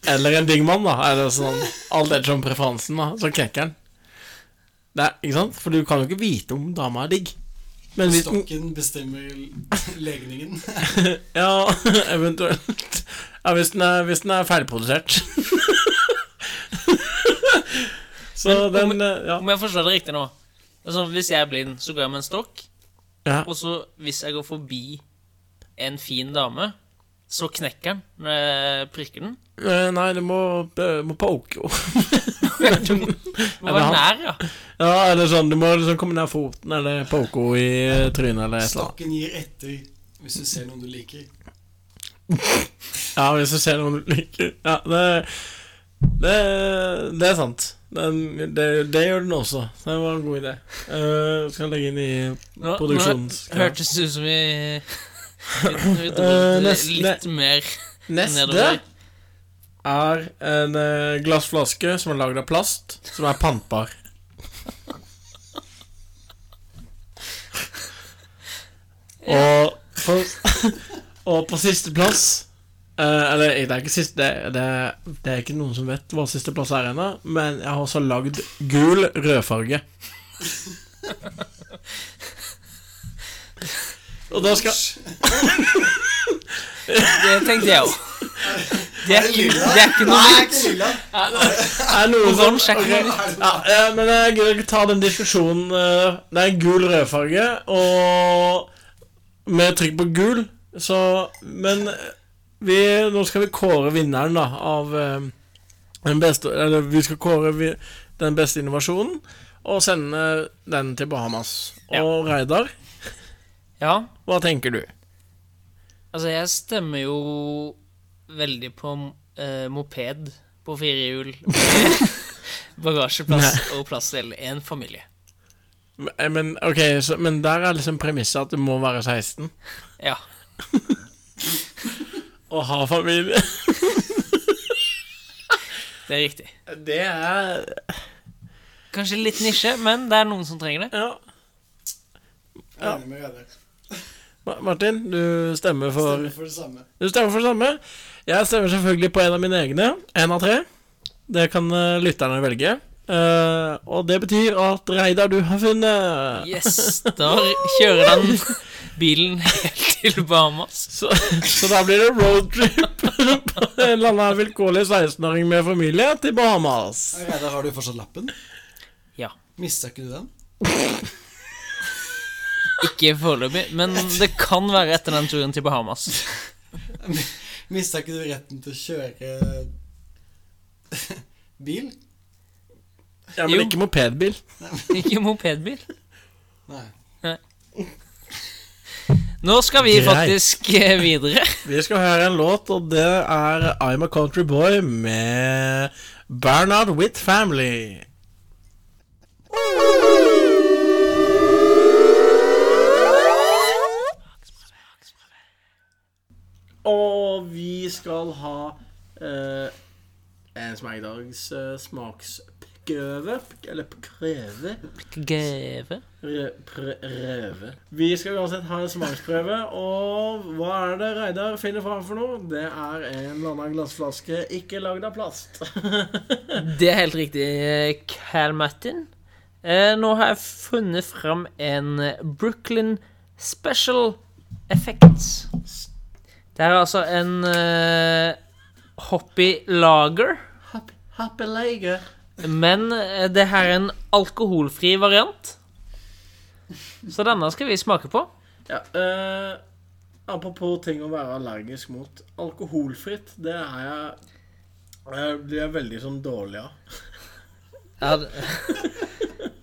Speaker 1: Eller en digg mann, da. Eller sånn, alt etter som preferansen, da. Så knekker den. Det er, ikke sant? For du kan jo ikke vite om dama er digg. Men hvis den
Speaker 4: Stokken bestemmer legningen.
Speaker 1: Ja, *laughs* eventuelt. Ja, hvis den er, hvis den er ferdigprodusert. *laughs* Så
Speaker 2: Men om-
Speaker 1: den eh, Ja.
Speaker 2: Om jeg forstår det riktig nå altså, Hvis jeg er blind, så går jeg med en stokk.
Speaker 1: Ja.
Speaker 2: Og så hvis jeg går forbi en fin dame, så knekker den når jeg prikker den.
Speaker 1: Eh, Nei, du må, eh, må poke henne.
Speaker 2: Du må være
Speaker 1: han-
Speaker 2: nær, ja.
Speaker 1: *laughs* Ja, eller sånn, du må liksom komme ned foten eller poke henne i eh, trynet eller et eller annet.
Speaker 4: Stokken gir etter hvis du ser noen du liker.
Speaker 1: Ja, hvis du ser noen du liker. Ja, det, det, det er sant. Den, det, det gjør den også. Det var en god idé. Eh, skal legge inn i
Speaker 2: Nå, nå
Speaker 1: produksjons...
Speaker 2: hørtes det ut som
Speaker 1: *laughs*
Speaker 2: vi vi
Speaker 1: Eh,
Speaker 2: dro litt,
Speaker 1: neste-
Speaker 2: litt mer
Speaker 1: Neste
Speaker 2: nedover.
Speaker 1: er en eh, glassflaske som er lagd av plast, som er pantbar. Og på, og på sisteplass uh, Eller det er ikke siste det, det, det er ikke noen som vet hva sisteplass er ennå, men jeg har også lagd gul rødfarge. Og da skal
Speaker 2: Det tenkte jeg òg. Det er ikke,
Speaker 4: lilla?
Speaker 2: det er ikke noe
Speaker 4: Nei,
Speaker 2: nytt.
Speaker 4: ikke lilla.
Speaker 1: Er noen som
Speaker 2: Oransje er ikke
Speaker 1: Ok.
Speaker 2: noe
Speaker 1: Ja, eh, men jeg gidder ikke ta den diskusjonen eh, Det er gul rødfarge, og med trykk på gul, så Men vi, nå skal vi kåre vinneren, da, av eh, den beste Eller vi skal kåre vi, den beste innovasjonen, og sende den til Bahamas.
Speaker 2: Ja.
Speaker 1: Og Reidar,
Speaker 2: Ja,
Speaker 1: hva tenker du?
Speaker 2: altså, jeg stemmer jo veldig på eh, moped på fire hjul. *laughs* Bagasjeplass og plass til en familie.
Speaker 1: Eh, Men, ok, så, men der er liksom premisset at du må være 16
Speaker 2: Ja.
Speaker 1: og ha familie.
Speaker 2: Det er riktig.
Speaker 1: *laughs* Det er
Speaker 2: Kanskje litt nisje, men det er noen som trenger det.
Speaker 1: Ja.
Speaker 4: Jeg er enig med Reidar.
Speaker 1: Ma- Martin, du stemmer for
Speaker 4: Stemmer for det samme.
Speaker 1: Du stemmer for det samme. Jeg stemmer selvfølgelig på en av mine egne. En av tre. Det kan eh, lytterne velge. Eh, og det betyr at Reidar, du har funnet
Speaker 2: Yes, da kjører han bilen helt til Bahamas.
Speaker 1: Så, så da blir det roadtrip på en eller annen vilkårlig 16-åring med familie til Bahamas.
Speaker 4: Reidar, har du fortsatt lappen?
Speaker 2: Ja.
Speaker 4: Mista ikke du den? *laughs*
Speaker 2: Ikke foreløpig, men det kan være etter den turen til Bahamas.
Speaker 4: Mista ikke du retten til å kjøre *laughs* bil?
Speaker 1: Ja, men
Speaker 2: Jo.
Speaker 1: ikke mopedbil.
Speaker 2: Ikke mopedbil.
Speaker 4: Nei.
Speaker 2: Nå skal vi
Speaker 1: Greit.
Speaker 2: faktisk eh, videre.
Speaker 1: Vi skal høre en låt, og det er I'm a Country Boy med Bernard With Family. Og vi skal ha eh, en smakdags eh, smaksprøve. Eller prøve.
Speaker 2: Greve.
Speaker 1: Re- Prøve. Vi skal uansett ha en smaksprøve, og hva er det Reidar finner fram for noe? Det er en eller annen glassflaske ikke lagd av plast.
Speaker 2: Det er helt riktig, eh, Carl Martin. Eh, Nå har jeg funnet fram en eh, Brooklyn Special Effects. Det er altså en eh, Hoppy Lager,
Speaker 1: Happy, happy lager.
Speaker 2: men eh, det her er en alkoholfri variant. Så denne skal vi smake på.
Speaker 1: Ja, eh, apropos ting å være allergisk mot. Alkoholfritt, det er jeg Jeg blir veldig sånn dårlig av.
Speaker 2: Ja, det, *laughs*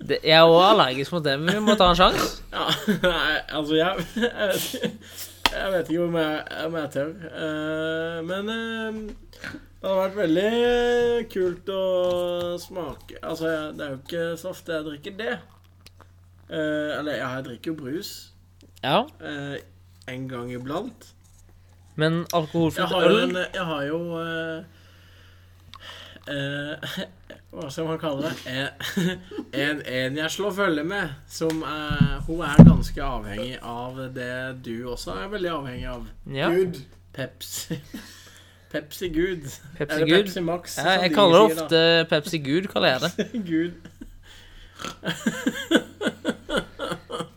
Speaker 2: det, jeg er også allergisk mot det, men vi må ta en sjanse.
Speaker 1: Ja, nei, altså jeg, jeg, vet, ikke- *laughs* jeg vet ikke om jeg, om jeg tør. Eh, men eh, det hadde vært veldig kult å smake Altså, jeg, det er jo ikke så ofte jeg drikker det. Eh, eller ja, jeg drikker jo brus
Speaker 2: Ja,
Speaker 1: eh, en gang iblant.
Speaker 2: men
Speaker 1: Jeg
Speaker 2: alkoholfritt
Speaker 1: har jo en
Speaker 2: øl
Speaker 1: Jeg har jo eh, eh, *laughs* Hva skal man kalle det? Eh, *laughs* En, en jeg slår følge med, som eh, Hun er ganske avhengig av det du også er veldig avhengig av.
Speaker 2: ja,
Speaker 4: Gud.
Speaker 1: Pepsi. *laughs* Pepsi Gud.
Speaker 2: Pepsi
Speaker 1: Eller
Speaker 2: Gud.
Speaker 1: Pepsi Max.
Speaker 2: Ja,
Speaker 1: som
Speaker 2: jeg
Speaker 1: de
Speaker 2: kaller det
Speaker 1: sier, da.
Speaker 2: ofte Pepsi Gud, kaller jeg det.
Speaker 1: *laughs* Gud.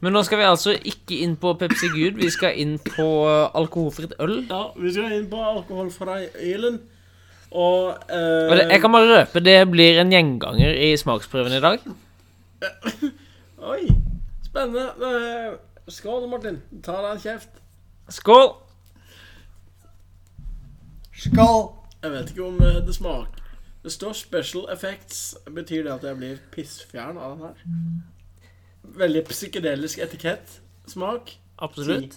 Speaker 2: Men nå skal vi altså ikke inn på Pepsi Gud, vi skal inn på eh, alkoholfritt øl.
Speaker 1: Ja, vi skal inn på alkohol fra Ilen. Og, eh,
Speaker 2: Og det, jeg kan bare røpe, det blir en gjenganger i smaksprøven i dag.
Speaker 1: Oi, spennende. Eh, Skål, Martin. Ta deg en kjeft.
Speaker 2: Skål!
Speaker 4: Skål!
Speaker 1: Jeg vet ikke om eh, det smaker Det står 'special effects'. Betyr det at jeg blir pissfjern av den her? Veldig psykedelisk etikett. Smak.
Speaker 2: Absolutt.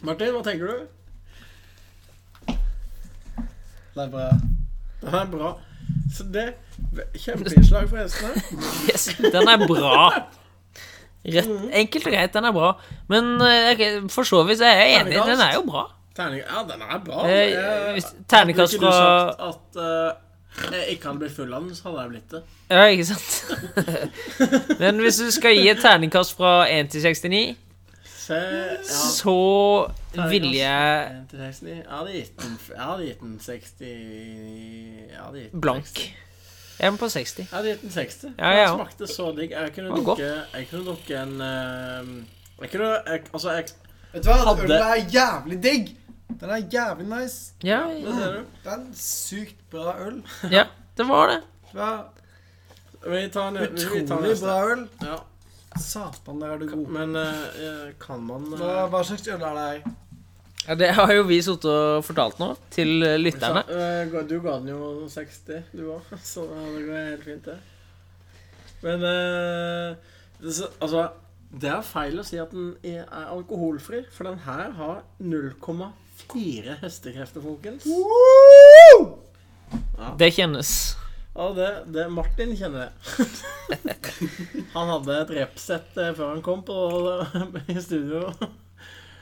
Speaker 1: Martin, hva tenker du?
Speaker 4: Det er bra.
Speaker 1: Den er bra. Så det Kjempeinnslag for hestene.
Speaker 2: Yes, den er bra. Rett, enkelt og greit, den er bra. Men eh, ok, for så vidt så er jeg enig, den er jo bra.
Speaker 1: Terning. Ja, den er bra.
Speaker 2: Eh,
Speaker 1: Eh,
Speaker 2: hvis- Terningkast
Speaker 1: Hadde ikke
Speaker 2: fra
Speaker 1: du sagt at eh, jeg ikke hadde blitt full av den, så hadde jeg blitt det.
Speaker 2: Ja, ikke sant? *laughs* Men hvis du skal gi et terningkast fra 1 til 69,
Speaker 1: Se, ja,
Speaker 2: så ville jeg
Speaker 1: 1 til 69. Jeg hadde gitt den Jeg hadde gitt den 60 Jeg hadde gitt den
Speaker 2: blank.
Speaker 1: 60.
Speaker 2: Jeg er med på 60.
Speaker 1: Jeg hadde gitt den 60.
Speaker 2: Ja, ja.
Speaker 1: Den smakte så digg. Jeg kunne
Speaker 2: Det var
Speaker 1: dukke Jeg kunne dukke en eh, Jeg kunne jeg, Altså, jeg
Speaker 4: Vet du hva?
Speaker 1: Hadde-
Speaker 4: Ølen er jævlig digg! Den er jævlig nice.
Speaker 2: *laughs* Ja,
Speaker 1: Det ser du.
Speaker 4: Det er en sykt bra øl.
Speaker 2: ja, det var det.
Speaker 4: Vet du hva?
Speaker 1: Vi tar en vi tar
Speaker 4: Utrolig
Speaker 1: neste.
Speaker 4: bra øl.
Speaker 1: Ja.
Speaker 4: Satan, der er du god.
Speaker 1: Men eh, eh, kan man eh,
Speaker 4: Hva, hva slags øl er det her?
Speaker 2: Ja, det har jo vi sittet og fortalt nå til eh,
Speaker 1: sa-
Speaker 2: lytterne.
Speaker 1: eh, ga- Du ga den jo 60, du òg, *laughs* så det går helt fint, det. Men eh, det, så- Altså, det er feil å si at den er er alkoholfri, for den her har 0,4 hestekrefter, folkens.
Speaker 2: Det kjennes.
Speaker 1: Ja, det, det Martin kjenner det. *laughs* han hadde et repsett eh, før han kom på, *laughs* i studio.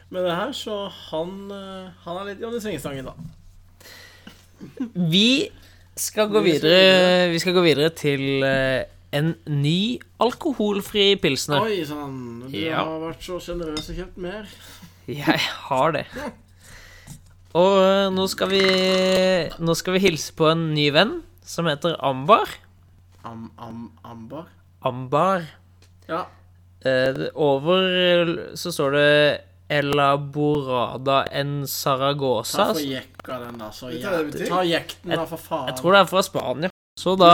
Speaker 1: Med det her, så han, eh, han er litt Johnny Svingestangen, da.
Speaker 2: Vi skal gå videre Vi skal gå videre til eh, en ny alkoholfri pilsner.
Speaker 1: Oi sann, du
Speaker 2: Ja.
Speaker 1: har vært så sjenerøs og kjøpt mer.
Speaker 2: *laughs* Jeg har det. Og eh, nå skal vi Nå skal vi hilse på en ny venn som heter Ambar.
Speaker 1: Am, am, ambar.
Speaker 2: Ambar.
Speaker 1: Ja.
Speaker 2: Eh, over eh, så står det Elaborada en Saragosa.
Speaker 1: Ta for jekka den, da. Så
Speaker 4: Vet du hva det
Speaker 1: jævlig.
Speaker 4: betyr?
Speaker 1: Ta jekten, da, for faen.
Speaker 2: Jeg tror det er fra Spania. Så da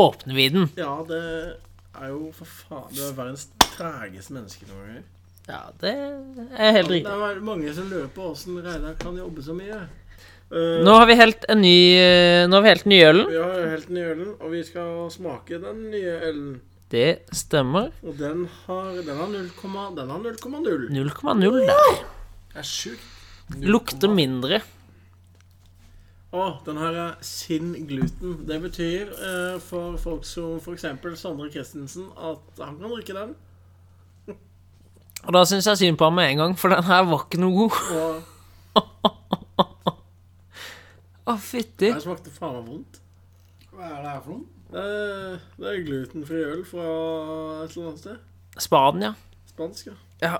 Speaker 2: åpner vi den.
Speaker 1: Ja, det er jo for faen Du er verdens tregeste menneske noen ganger.
Speaker 2: Ja, det er helt
Speaker 1: Det
Speaker 2: riktig.
Speaker 1: er mange som lurer på åssen Reidar kan jobbe så mye. Eh,
Speaker 2: Nå har vi helt en ny eh, Nå har vi helt den nye ølen.
Speaker 1: Vi har helt den nye ølen, og vi skal smake den nye ølen.
Speaker 2: Det stemmer.
Speaker 1: Og den har den har 0,0. Den har 0,0.
Speaker 2: 0,0 der.
Speaker 1: Det er sjukt.
Speaker 2: Lukter mindre.
Speaker 1: Å, den her er sin gluten. Det betyr eh, for folk som f.eks. Sondre Christensen at han kan drikke den.
Speaker 2: Og da syns jeg synd på ham med en gang, for den her var ikke noe god.
Speaker 1: Og
Speaker 2: Å, fytti.
Speaker 1: den smakte faen meg vondt.
Speaker 4: Hva er det her for noe?
Speaker 1: Det er, det er glutenfri øl fra et eller annet sted.
Speaker 2: Spania.
Speaker 1: Spansk, ja.
Speaker 2: Ja.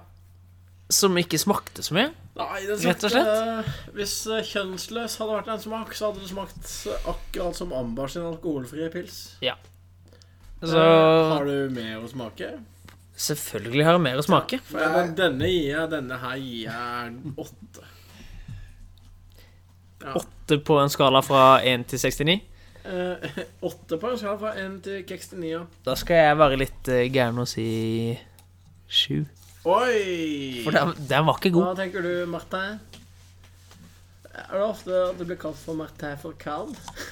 Speaker 2: Som ikke smakte så mye.
Speaker 1: Nei, den
Speaker 2: Rett og
Speaker 1: smakte eh, Hvis eh, kjønnsløs hadde vært en smak, så hadde det smakt eh, akkurat som Ambar sin alkoholfrie pils.
Speaker 2: Så
Speaker 1: Eh, Har du mer å smake?
Speaker 2: selvfølgelig har det mer å smake.
Speaker 1: For jeg, men denne gir jeg Denne her gir jeg åtte.
Speaker 2: Åtte på en skala fra 1 til 69.
Speaker 1: Eh, *laughs* åtte på en skala fra én til keks til nier.
Speaker 2: Da skal jeg være litt eh, gæren og si sju.
Speaker 1: Oi!
Speaker 2: For den, den var ikke god.
Speaker 1: Hva tenker du, Martin? Er det ofte at det blir kalt for Martin for Carl? *laughs*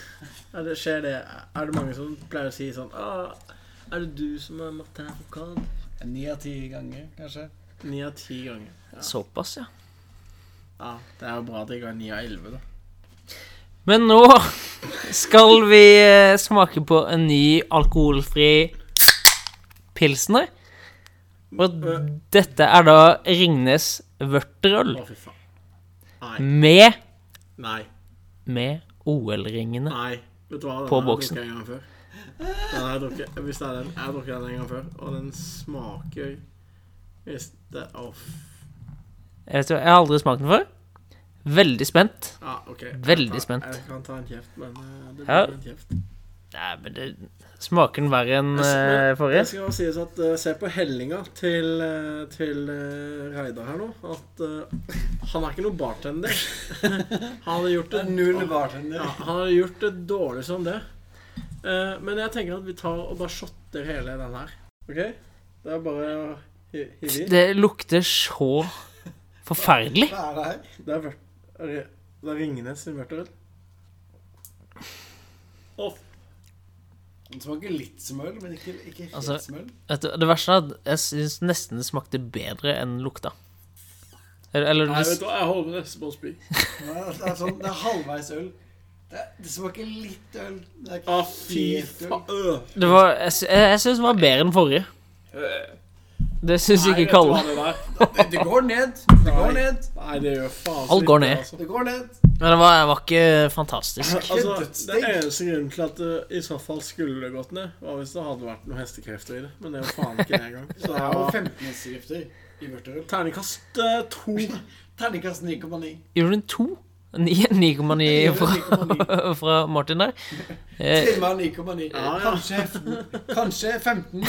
Speaker 1: Er det, skjer det? Er det mange som pleier å si sånn ah, Er det du som er Martin for Carl?
Speaker 4: Ni av ti ganger, kanskje.
Speaker 1: Ni av ti ganger.
Speaker 2: Såpass, ja.
Speaker 1: Ja, Det er jo bra at jeg ga ni av elleve, da.
Speaker 2: Men nå *laughs* skal vi eh, smake på en ny alkoholfri pilsner. Og dette er da Ringnes
Speaker 1: Å,
Speaker 2: vørterøl
Speaker 1: fy faen. Nei.
Speaker 2: med,
Speaker 1: Nei.
Speaker 2: med OL-ringene.
Speaker 1: Nei. Vet du hva? Den
Speaker 2: På
Speaker 1: har jeg
Speaker 2: boksen.
Speaker 1: drukket en gang før. Den har jeg drukket, hvis det er den, jeg har drukket den en gang før, og den smaker Hvis det Å, f-
Speaker 2: Jeg vet ikke, jeg har aldri smakt den før. Veldig spent.
Speaker 1: ja, ok. Jeg
Speaker 2: Veldig
Speaker 1: tar-
Speaker 2: spent.
Speaker 1: Jeg kan ta en kjeft, men eh, det blir
Speaker 2: Ja.
Speaker 1: en kjeft.
Speaker 2: Nei, men det smaker den verre enn eh,
Speaker 1: Men Det
Speaker 2: forrige.
Speaker 1: skal også sies at eh, se på hellinga til, eh, til eh, Reidar her nå, at eh, han er ikke noen bartender. *laughs* Han hadde gjort
Speaker 4: Det
Speaker 1: det
Speaker 4: er null bartender.
Speaker 1: Ja, han har gjort det dårlig som det. Eh, men jeg tenker at vi tar og bare shotter hele den her. OK? Det er bare å hi- hive i.
Speaker 2: Det lukter så forferdelig.
Speaker 4: Hva er det her?
Speaker 1: Det er, vørt, er det- det er Ringnes sin vørterøl. Å, f-
Speaker 4: Den smaker litt som øl, men ikke, ikke helt
Speaker 2: Altså-
Speaker 4: som øl.
Speaker 2: Vet du, det verste er at jeg syns nesten det smakte bedre enn det lukta. Eller, eller
Speaker 1: Nei,
Speaker 2: det,
Speaker 1: vet du hva, jeg holder nesten på å spy.
Speaker 4: altså, Nei, Det er, sånn, det er halvveis øl. Det, det smaker litt øl. Det er ikke
Speaker 1: Å, Ah, fy
Speaker 4: helt øl.
Speaker 1: faen. Øh.
Speaker 2: Det var, jeg sy- jeg, jeg syns den var bedre enn forrige. Det syns
Speaker 1: Nei,
Speaker 2: ikke
Speaker 1: vet du
Speaker 2: Kalle.
Speaker 1: hva det var?
Speaker 4: Det, det går ned. Det går ned.
Speaker 1: Nei, det gjør faen så
Speaker 2: Alt går
Speaker 1: lite,
Speaker 2: ned.
Speaker 1: altså.
Speaker 4: Det går ned.
Speaker 2: Men det var, det var ikke fantastisk.
Speaker 1: Altså, den
Speaker 4: Dødsdigg.
Speaker 1: eneste grunnen til at det i så fall skulle det gått ned, var hvis det hadde vært noen hestekrefter i det. Men det er jo faen ikke det engang. Så det
Speaker 4: Det var
Speaker 1: var
Speaker 4: 15 hestegrifter i vørterøl.
Speaker 1: *laughs* terningkast eh, to.
Speaker 4: Terningkast 9,9.
Speaker 2: Gjorde den to? Ni- 9,9 fra,
Speaker 4: 9,9.
Speaker 2: fra Martin der. Eh,
Speaker 4: Trimma 9,9.
Speaker 1: Ja, ja.
Speaker 4: Kanskje, kanskje 15.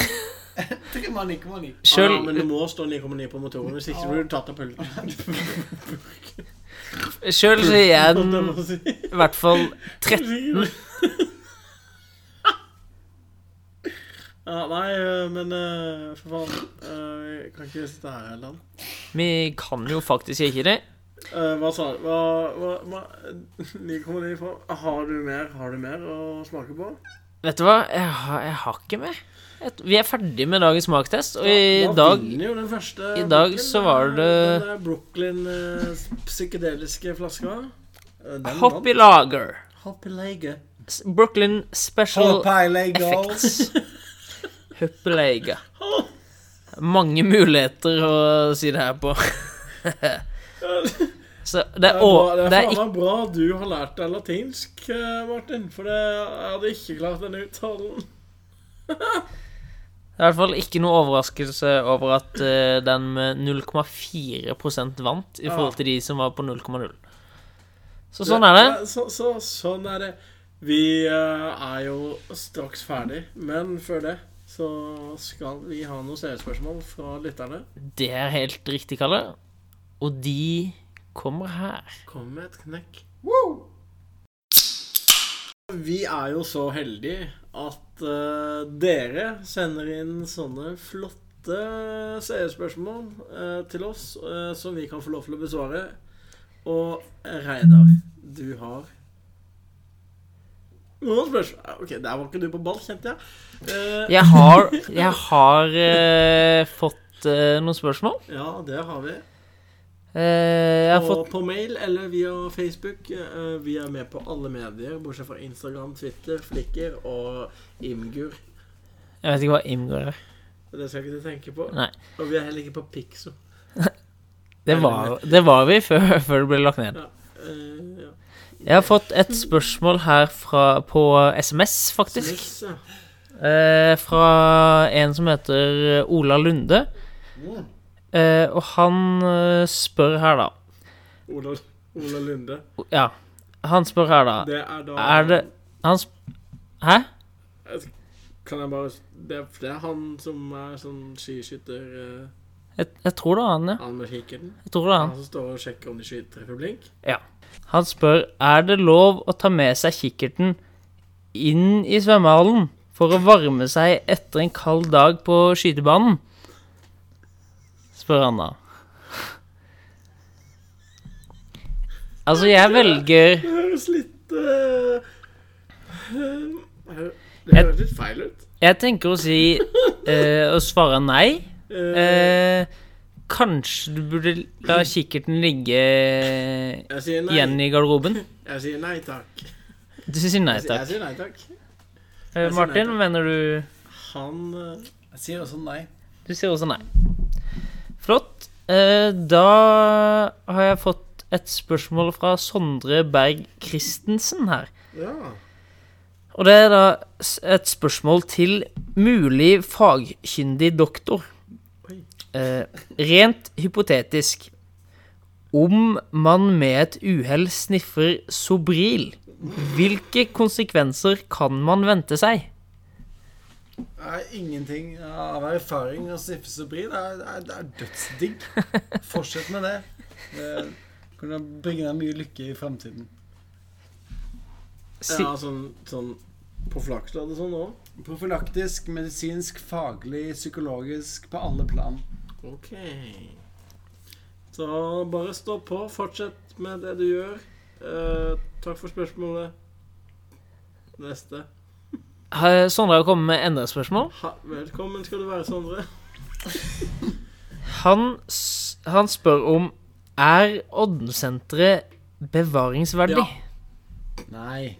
Speaker 4: *laughs* Trimma 9,9.
Speaker 1: Ja,
Speaker 2: Sjøl
Speaker 1: men det må stå 9,9 på motoren, hvis ikke blir du tatt av pulten.
Speaker 2: sjøl sier jeg den
Speaker 1: *laughs* Det må jeg si.
Speaker 2: i hvert fall 13.
Speaker 1: *laughs* Ja, nei, eh, men eh, for faen. eh, Jeg kan ikke sitte her hele dagen.
Speaker 2: Vi kan jo faktisk ikke det.
Speaker 1: Eh, Hva sa du? Hva, hva, *laughs* hva 9,9 fra Har du mer? Har du mer å smake på?
Speaker 2: Vet du hva, jeg har, jeg har ikke mer. Jeg- Vi er ferdig med dagens smaktest, og i
Speaker 1: Da
Speaker 2: dag
Speaker 1: vinner jo den første
Speaker 2: i dag så var
Speaker 1: eh,
Speaker 2: det-
Speaker 1: Den der Brooklyn eh, psykedeliske flaska. Eh, den vant.
Speaker 2: Hoppy Lager.
Speaker 1: Hoppy Lege.
Speaker 2: S- Brooklyn Special Effects. *laughs* Hoppy Lager. Mange muligheter å si det her *laughs* på. Så det
Speaker 1: Det
Speaker 2: er,
Speaker 1: er,
Speaker 2: å,
Speaker 1: bra,
Speaker 2: det er
Speaker 1: faen
Speaker 2: ikke
Speaker 1: meg bra du har lært deg latinsk, eh, Martin. For det, jeg hadde ikke klart den uttalen.
Speaker 2: Det er i hvert fall ikke noe overraskelse over at eh, den med 0,4 vant i forhold til de som var på 0,0. Så sånn er det.
Speaker 1: Ja, Så, så, sånn er det. Vi eh, er jo straks ferdig, men før det så skal vi ha noen seriespørsmål fra lytterne.
Speaker 2: Det er helt riktig, Kalle. Og de kommer her.
Speaker 1: Kom med et knekk. Vi er jo så heldige at eh, dere sender inn sånne flotte seerspørsmål eh, til oss eh, som vi kan få lov til å besvare. Og Reidar, du har noen spørsmål Ok, der var ikke du på ball, kjente jeg. Eh,
Speaker 2: Jeg har, jeg har eh, fått eh, noen spørsmål.
Speaker 1: ja, det har vi.
Speaker 2: Eh, jeg har
Speaker 1: På,
Speaker 2: fått
Speaker 1: på mail eller via Facebook. Eh, Vi er med på alle medier, bortsett fra Instagram, Twitter, Flikker og Imgur.
Speaker 2: Jeg vet ikke hva Imgur er.
Speaker 1: Det skal ikke du tenke på.
Speaker 2: Nei.
Speaker 1: Og vi er heller ikke på Pixo.
Speaker 2: Det var, det var vi før, *laughs* før det ble lagt ned.
Speaker 1: Eh, ja.
Speaker 2: Jeg har fått et spørsmål her fra, på SMS, faktisk.
Speaker 1: Smiss, ja.
Speaker 2: Eh, fra en som heter Ola Lunde. Eh, og han eh, spør her, da.
Speaker 1: Ola, Ola Lunde.
Speaker 2: Ja, han spør her, da.
Speaker 1: Det er da
Speaker 2: Er det Han sp... Hæ?
Speaker 1: Kan jeg bare Det er, det er han som er sånn skiskytter eh,
Speaker 2: Jeg, jeg tror det er han, ja.
Speaker 1: Han med kikkerten?
Speaker 2: Jeg tror det er
Speaker 1: Han
Speaker 2: han.
Speaker 1: som står og sjekker om de skyter for blink?
Speaker 2: Han spør er det lov å ta med seg kikkerten inn i svømmehallen for å varme seg etter en kald dag på skytebanen? Spør han da. Altså, jeg velger
Speaker 1: Det høres litt eh, eh, Det
Speaker 2: Jeg-
Speaker 1: høres litt feil ut.
Speaker 2: Jeg tenker å si eh, Å svare nei.
Speaker 1: Eh,
Speaker 2: Eh, kanskje du burde la kikkerten ligge
Speaker 1: jeg sier nei.
Speaker 2: igjen i garderoben?
Speaker 1: Jeg sier nei takk.
Speaker 2: Du sier nei
Speaker 1: Jeg sier- Jeg
Speaker 2: takk.
Speaker 1: sier nei takk.
Speaker 2: Eh,
Speaker 1: jeg sier nei
Speaker 2: Martin,
Speaker 1: takk.
Speaker 2: mener du
Speaker 1: Han eh,
Speaker 4: Jeg sier også nei.
Speaker 2: Du sier også nei. Flott. Eh, da har jeg fått et spørsmål fra Sondre Berg Christensen her.
Speaker 1: Ja.
Speaker 2: Og det er da s- et spørsmål til mulig fagkyndig doktor.
Speaker 1: Oi.
Speaker 2: Eh, rent hypotetisk. Om man med et uhell sniffer Sobril, hvilke konsekvenser kan man vente seg?
Speaker 4: Jeg har ingenting av erfaring å sniffe Sobril. Det er, det er, det er dødsdigg. Fortsett med det. Det kunne bringe deg mye lykke i framtiden.
Speaker 2: Si,
Speaker 1: ja sånn, sånn på flakslodd og sånn òg?
Speaker 4: Profylaktisk, medisinsk, faglig, psykologisk, på alle plan.
Speaker 1: OK. Så bare stå på. Fortsett med det du gjør. Eh, takk for spørsmålet. Neste.
Speaker 2: har Sondre har kommet med enda et spørsmål.
Speaker 1: Ha, velkommen skal du være, Sondre.
Speaker 2: Han, s- han spør om Er Odden-senteret bevaringsverdig?
Speaker 1: Ja.
Speaker 4: Nei.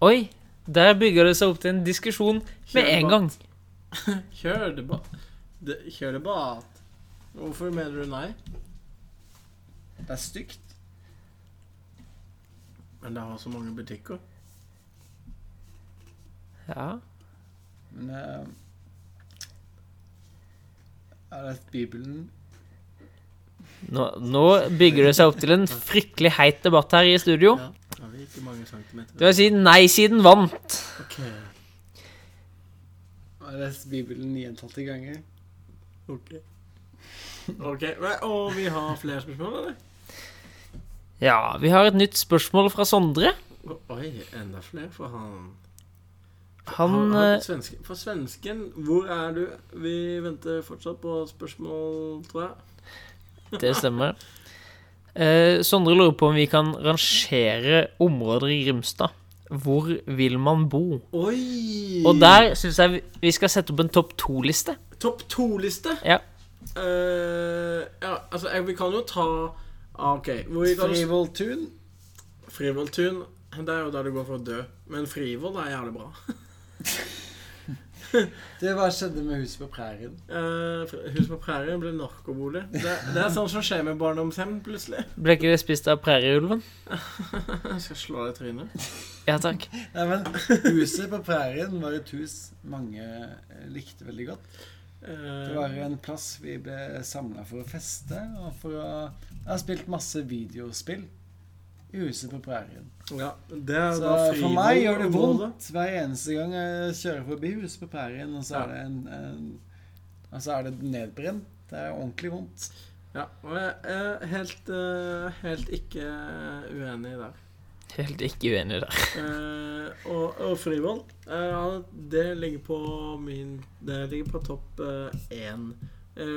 Speaker 2: Oi, der bygger det seg opp til en diskusjon med en gang.
Speaker 1: Kjør debatt. De- Kjør debatt. Hvorfor mener du nei?
Speaker 4: Det er stygt.
Speaker 1: Men det har så mange butikker.
Speaker 2: Ja.
Speaker 4: Men eh, Jeg har lest Bibelen.
Speaker 2: Nå, nå bygger det seg opp til en fryktelig heit debatt her i studio.
Speaker 1: Har vi ikke mange centimeter?
Speaker 2: Det vil si, nei-siden vant.
Speaker 1: Ok,
Speaker 4: Jeg har lest Bibelen gjentatte ganger.
Speaker 1: ok. Ok, men- Og vi har flere spørsmål, eller?
Speaker 2: Ja, vi har et nytt spørsmål fra Sondre.
Speaker 1: O- Oi, enda flere for han.
Speaker 2: Han eh,
Speaker 1: svenske, for svensken, hvor er du? Vi venter fortsatt på spørsmål, tror jeg.
Speaker 2: Det stemmer. Eh, Sondre lurer på om vi kan rangere områder i Grimstad. Hvor vil man bo?
Speaker 1: Oi!
Speaker 2: Og der syns jeg vi- vi skal sette opp en topp to-liste.
Speaker 1: Topp to-liste?
Speaker 2: Ja.
Speaker 1: Eh, ja, altså, jeg, vi kan jo ta ah, OK. Hvor vi kan
Speaker 4: Frivolltun.
Speaker 1: Frivolltun. Det er jo der du går for å dø. Men Frivoll er jævlig bra.
Speaker 4: Det hva skjedde med huset på prærien?
Speaker 1: Eh, fr- Huset på prærien blir narkobolig. Det, det er sånt som skjer med barndomshjem, plutselig. *laughs*
Speaker 2: Ble ikke det spist av prærieulven?
Speaker 1: Jeg skal slå deg i trynet.
Speaker 2: Ja takk.
Speaker 4: Nei, men
Speaker 1: *laughs*
Speaker 4: Huset på prærien var et hus mange eh, likte veldig godt. Det
Speaker 1: Eh,
Speaker 4: var en plass vi ble samla for å feste og for å Jeg har spilt masse videospill i huset på prærien.
Speaker 1: Eh, ja, det er
Speaker 4: Så
Speaker 1: da
Speaker 4: for meg gjør det
Speaker 1: Frivoll-området.
Speaker 4: vondt hver eneste gang jeg kjører forbi huset på prærien, og så
Speaker 1: Ja.
Speaker 4: er det en, en Og så er det nedbrent. Det er ordentlig vondt.
Speaker 1: Ja, og jeg er helt, eh, helt ikke eh, uenig der.
Speaker 2: Helt ikke uenig der.
Speaker 1: Eh, og, og Frivoll eh, han- Det ligger på min Det ligger på topp én.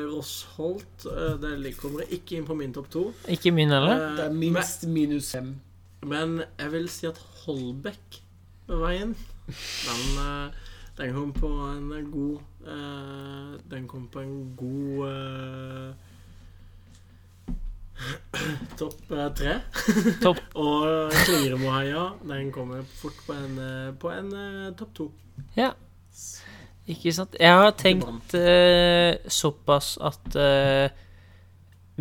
Speaker 1: Rossholt eh, Det ligger, kommer ikke inn på min topp to.
Speaker 2: Ikke min heller.
Speaker 1: Eh,
Speaker 4: Det er
Speaker 1: men,
Speaker 4: minst minus fem.
Speaker 1: men jeg vil si at Holbæk ved veien Den, eh, den kom på en god eh, Den kom på en god eh, *clears throat* Topp eh, tre.
Speaker 2: Topp.
Speaker 1: *laughs* og Klingremoheia den kommer fort på en, eh, på en eh, topp to.
Speaker 2: Ikke sant? Jeg har tenkt eh, såpass at eh,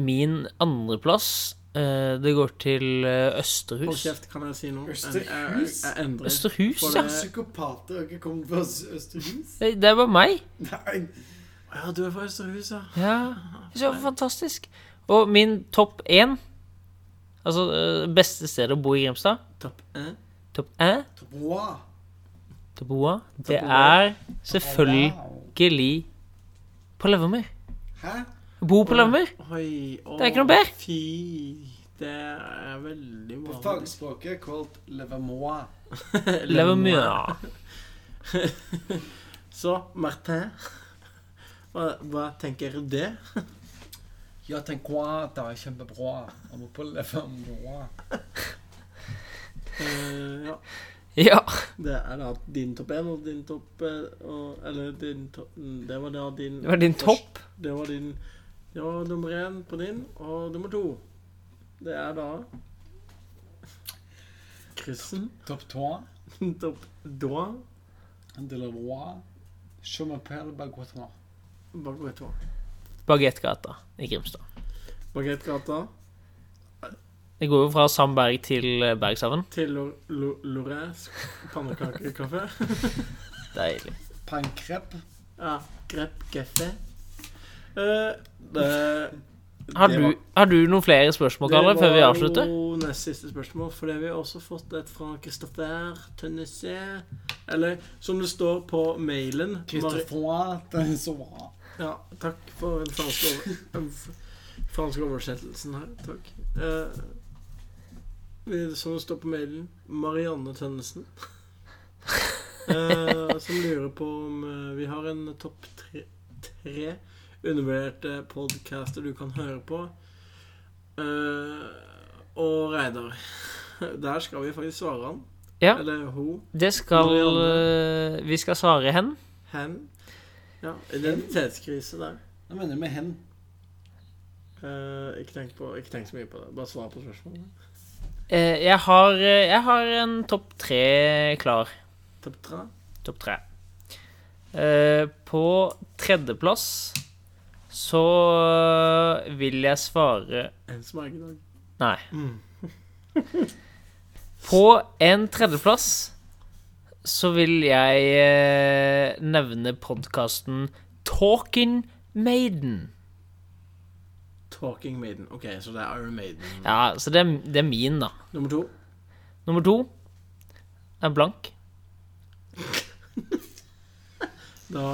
Speaker 2: min andreplass eh, Det går til eh,
Speaker 1: Hold
Speaker 2: Østerhus.
Speaker 1: kjeft, kan jeg si noe?
Speaker 4: Østerhus?
Speaker 1: Jeg, jeg, jeg endrer.
Speaker 2: Østerhus,
Speaker 1: For
Speaker 2: ja.
Speaker 1: det-
Speaker 4: Psykopater har ikke kommet fra Østerhus?
Speaker 2: Det det var meg.
Speaker 4: Nei.
Speaker 1: Ja, du er fra Østerhus, ja.
Speaker 2: Ja, det var fantastisk. Og min topp én, altså eh, beste sted å bo i Grimstad,
Speaker 1: Topp én.
Speaker 2: topp én,
Speaker 4: Wow.
Speaker 2: topp oa, det
Speaker 1: oa.
Speaker 2: er selvfølgelig på Levermyr.
Speaker 4: Hæ?
Speaker 2: Bo på Levermyr.
Speaker 1: Oi, å,
Speaker 2: Det er ikke noe bedre.
Speaker 1: Fy, det er veldig
Speaker 4: På
Speaker 1: bra.
Speaker 4: fagspråket er kalt levermois.
Speaker 2: Levermyr.
Speaker 1: Så, Martin, hva, hva tenker du det?
Speaker 4: Jeg tenker at det er kjempebra å bo på levermois.
Speaker 1: Eh, ja,
Speaker 2: *laughs* Ja.
Speaker 1: det er da din topp én og din topp eh, og, Eller din topp mm, Det var da din
Speaker 2: Det var din topp.
Speaker 1: Det var din Det var nummer én på din, og nummer to. Det er da Kryssen.
Speaker 4: Topp tå.
Speaker 1: *laughs* Topp da.
Speaker 4: De la roi. Je m'appelle Bagotois.
Speaker 1: Baguette.
Speaker 2: Bagettgata i Grimstad.
Speaker 1: Baguettgata
Speaker 2: Det går jo fra Sandberg til eh, Bergshaven.
Speaker 1: til Lo- Lo- Lorrains pannekakekafé.
Speaker 2: Deilig.
Speaker 4: Pancrep.
Speaker 1: *laughs* Ja, grep kaffe. Eh, det,
Speaker 2: Har
Speaker 1: det
Speaker 2: du,
Speaker 1: var-
Speaker 2: har du noen flere spørsmål, Kalle, før vi avslutter?
Speaker 1: Det var jo nest siste spørsmål, for vi har også fått et fra Christopher Tønnesier. Eller som det står på mailen Mari-
Speaker 4: Christophe. Det er så bra.
Speaker 1: Ja, takk for den franske, over eh, f- franske oversettelsen her. Takk. Eh, vi- som det står på mailen Marianne Tønnesen. Eh, som lurer på om eh, vi har en topp tre, tre undervurderte podcaster du kan høre på. Eh, og Reidar. Der skal vi faktisk svare han.
Speaker 2: Ja.
Speaker 1: Eller hun.
Speaker 2: Det skal
Speaker 1: Marianne.
Speaker 2: eh, Vi skal svare hen.
Speaker 1: Hen. Ja, identitetskrise der.
Speaker 4: Nå mener du med hen.
Speaker 1: Eh, ikke, tenk på, ikke tenk så mye på det. Bare svar på spørsmålet.
Speaker 2: Eh, Jeg har, eh, jeg har en topp tre klar.
Speaker 1: Topp tre.
Speaker 2: Topp tre. Eh, På tredjeplass så vil jeg svare
Speaker 1: En smak i dag.
Speaker 2: Nei. *laughs* På en tredjeplass så vil jeg eh, nevne podkasten Talking Maiden.
Speaker 1: Talking Maiden. Ok, så det er Iron Maiden.
Speaker 2: Ja, så det er, det er min, da.
Speaker 1: Nummer to.
Speaker 2: Nummer to er blank.
Speaker 1: Da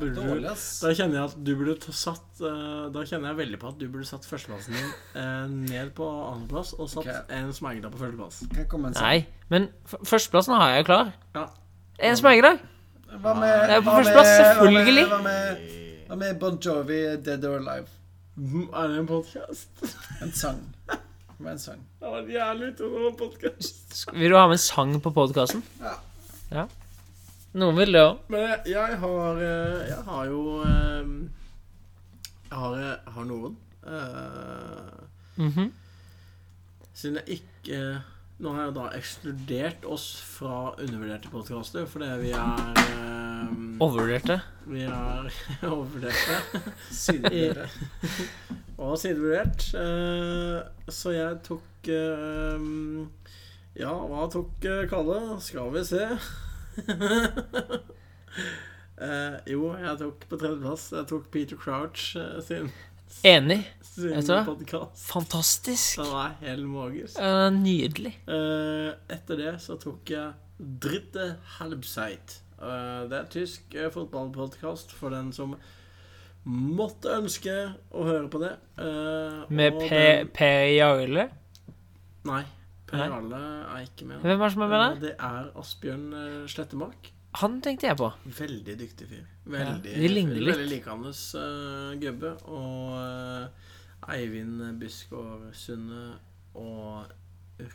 Speaker 1: burde du
Speaker 4: Dårlig, ass.
Speaker 1: Da kjenner jeg at du burde ta- satt eh, Da kjenner jeg veldig på at du burde satt førsteplassen din eh, ned på andreplass, og satt
Speaker 4: Ok.
Speaker 1: en smergedag på førsteplass.
Speaker 4: Kan jeg komme med en sak?
Speaker 2: Nei, men f- førsteplassen har jeg klar.
Speaker 1: Ja.
Speaker 2: En smergedag.
Speaker 4: Hva med,
Speaker 2: Det er på
Speaker 4: hva
Speaker 2: førsteplass,
Speaker 4: med- hva med-
Speaker 2: selvfølgelig.
Speaker 4: Hva med, hva med Bon Jovi, Dead or Alive?
Speaker 1: Mm, Er det en podkast?
Speaker 4: En sang. Hva med en sang?
Speaker 1: Det var jævlig tung om podkast.
Speaker 2: Sk- Vil du ha med en sang på podkasten?
Speaker 4: Ja.
Speaker 2: ja. Noen vil det òg.
Speaker 1: Men jeg- jeg har eh, Jeg har jo eh, Jeg har, jeg har noen. Eh,
Speaker 2: Mhm.
Speaker 1: Siden jeg ikke Nå har jeg da ekskludert oss fra undervurderte podkaster, fordi vi er eh,
Speaker 2: Overvurderte.
Speaker 1: Vi er *laughs* overvurderte.
Speaker 4: Sidebyrde.
Speaker 1: *laughs* Og sidevurdert. Eh, Så jeg tok eh, Ja, hva tok eh, Kalle? Skal vi se. *laughs* Eh, jo, jeg tok på tredjeplass. Jeg tok Peter Crouch eh, sin,
Speaker 2: Enig. Vet du
Speaker 1: sin
Speaker 2: hva?
Speaker 1: podkast.
Speaker 2: Fantastisk.
Speaker 1: Den er helt magisk.
Speaker 2: Eh, Nydelig.
Speaker 1: Eh, etter det så tok jeg Dritte Halbseit. Eh, det er tysk uh, fotballpodkast for den som måtte ønske å høre på det. Eh,
Speaker 2: Med
Speaker 1: og
Speaker 2: Per
Speaker 1: den-
Speaker 2: Per Jarle.
Speaker 1: Nei. Per
Speaker 2: Nei.
Speaker 1: Arle er ikke med.
Speaker 2: Hvem er det som er med
Speaker 1: Eh,
Speaker 2: der?
Speaker 1: Det er Asbjørn eh, Slettemark.
Speaker 2: Han tenkte jeg på.
Speaker 1: Veldig dyktig fyr. Veldig,
Speaker 2: de ligner litt.
Speaker 1: veldig likandes uh, gubbe. Og eh, Eivind Biskår Sunde og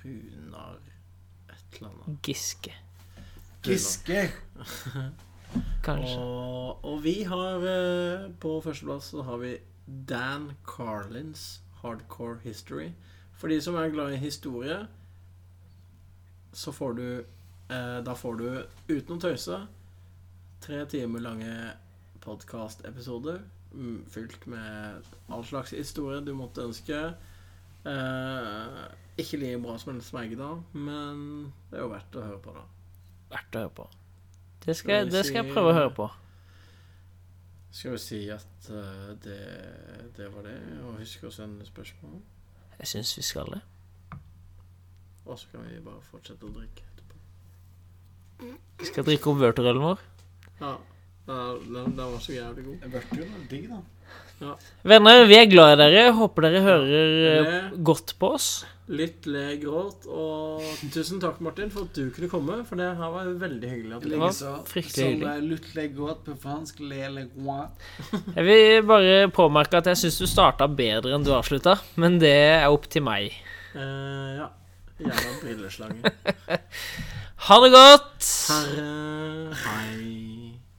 Speaker 1: Runar et eller annet.
Speaker 2: Giske,
Speaker 4: Giske.
Speaker 2: kanskje.
Speaker 1: Og, og vi har eh, På førsteplass så har vi Dan Carlins Hardcore History. For de som er glad i historie, så får du eh, Da får du, uten å tøyse, tre timer lange podkastepisoder mm, fylt med all slags historie du måtte ønske. Eh, ikke like bra som en smergedag, men det er jo verdt å høre på, da.
Speaker 2: Verdt å høre på. Det skal, jeg-
Speaker 1: Skal vi
Speaker 2: det skal
Speaker 1: si-
Speaker 2: jeg prøve å høre på.
Speaker 1: Skal vi si at eh, det, det var det, og husk å sende spørsmål.
Speaker 2: Jeg syns vi skal det.
Speaker 1: Og så kan vi bare fortsette å drikke etterpå.
Speaker 2: Vi skal drikke opp vørterølen vår.
Speaker 1: Ja, den, den, den var så jævlig god.
Speaker 4: Vørtur var digg, da.
Speaker 2: Venner, vi er glad i dere. Håper dere hører eh,
Speaker 1: Det-
Speaker 2: godt på oss.
Speaker 1: Litt le, gråt, og tusen takk, Martin, for at du kunne komme, for det her var veldig hyggelig. at du
Speaker 2: var
Speaker 4: Likeså.
Speaker 2: fryktelig
Speaker 4: Som
Speaker 2: hyggelig.
Speaker 4: er lutle godt på fransk, le le roi.
Speaker 2: Jeg vil bare påmerke at jeg syns du starta bedre enn du avslutta, men det er opp til meg.
Speaker 1: Eh, ja. Jævla brilleslange.
Speaker 2: Ha det godt!
Speaker 1: Herre, eh, hei.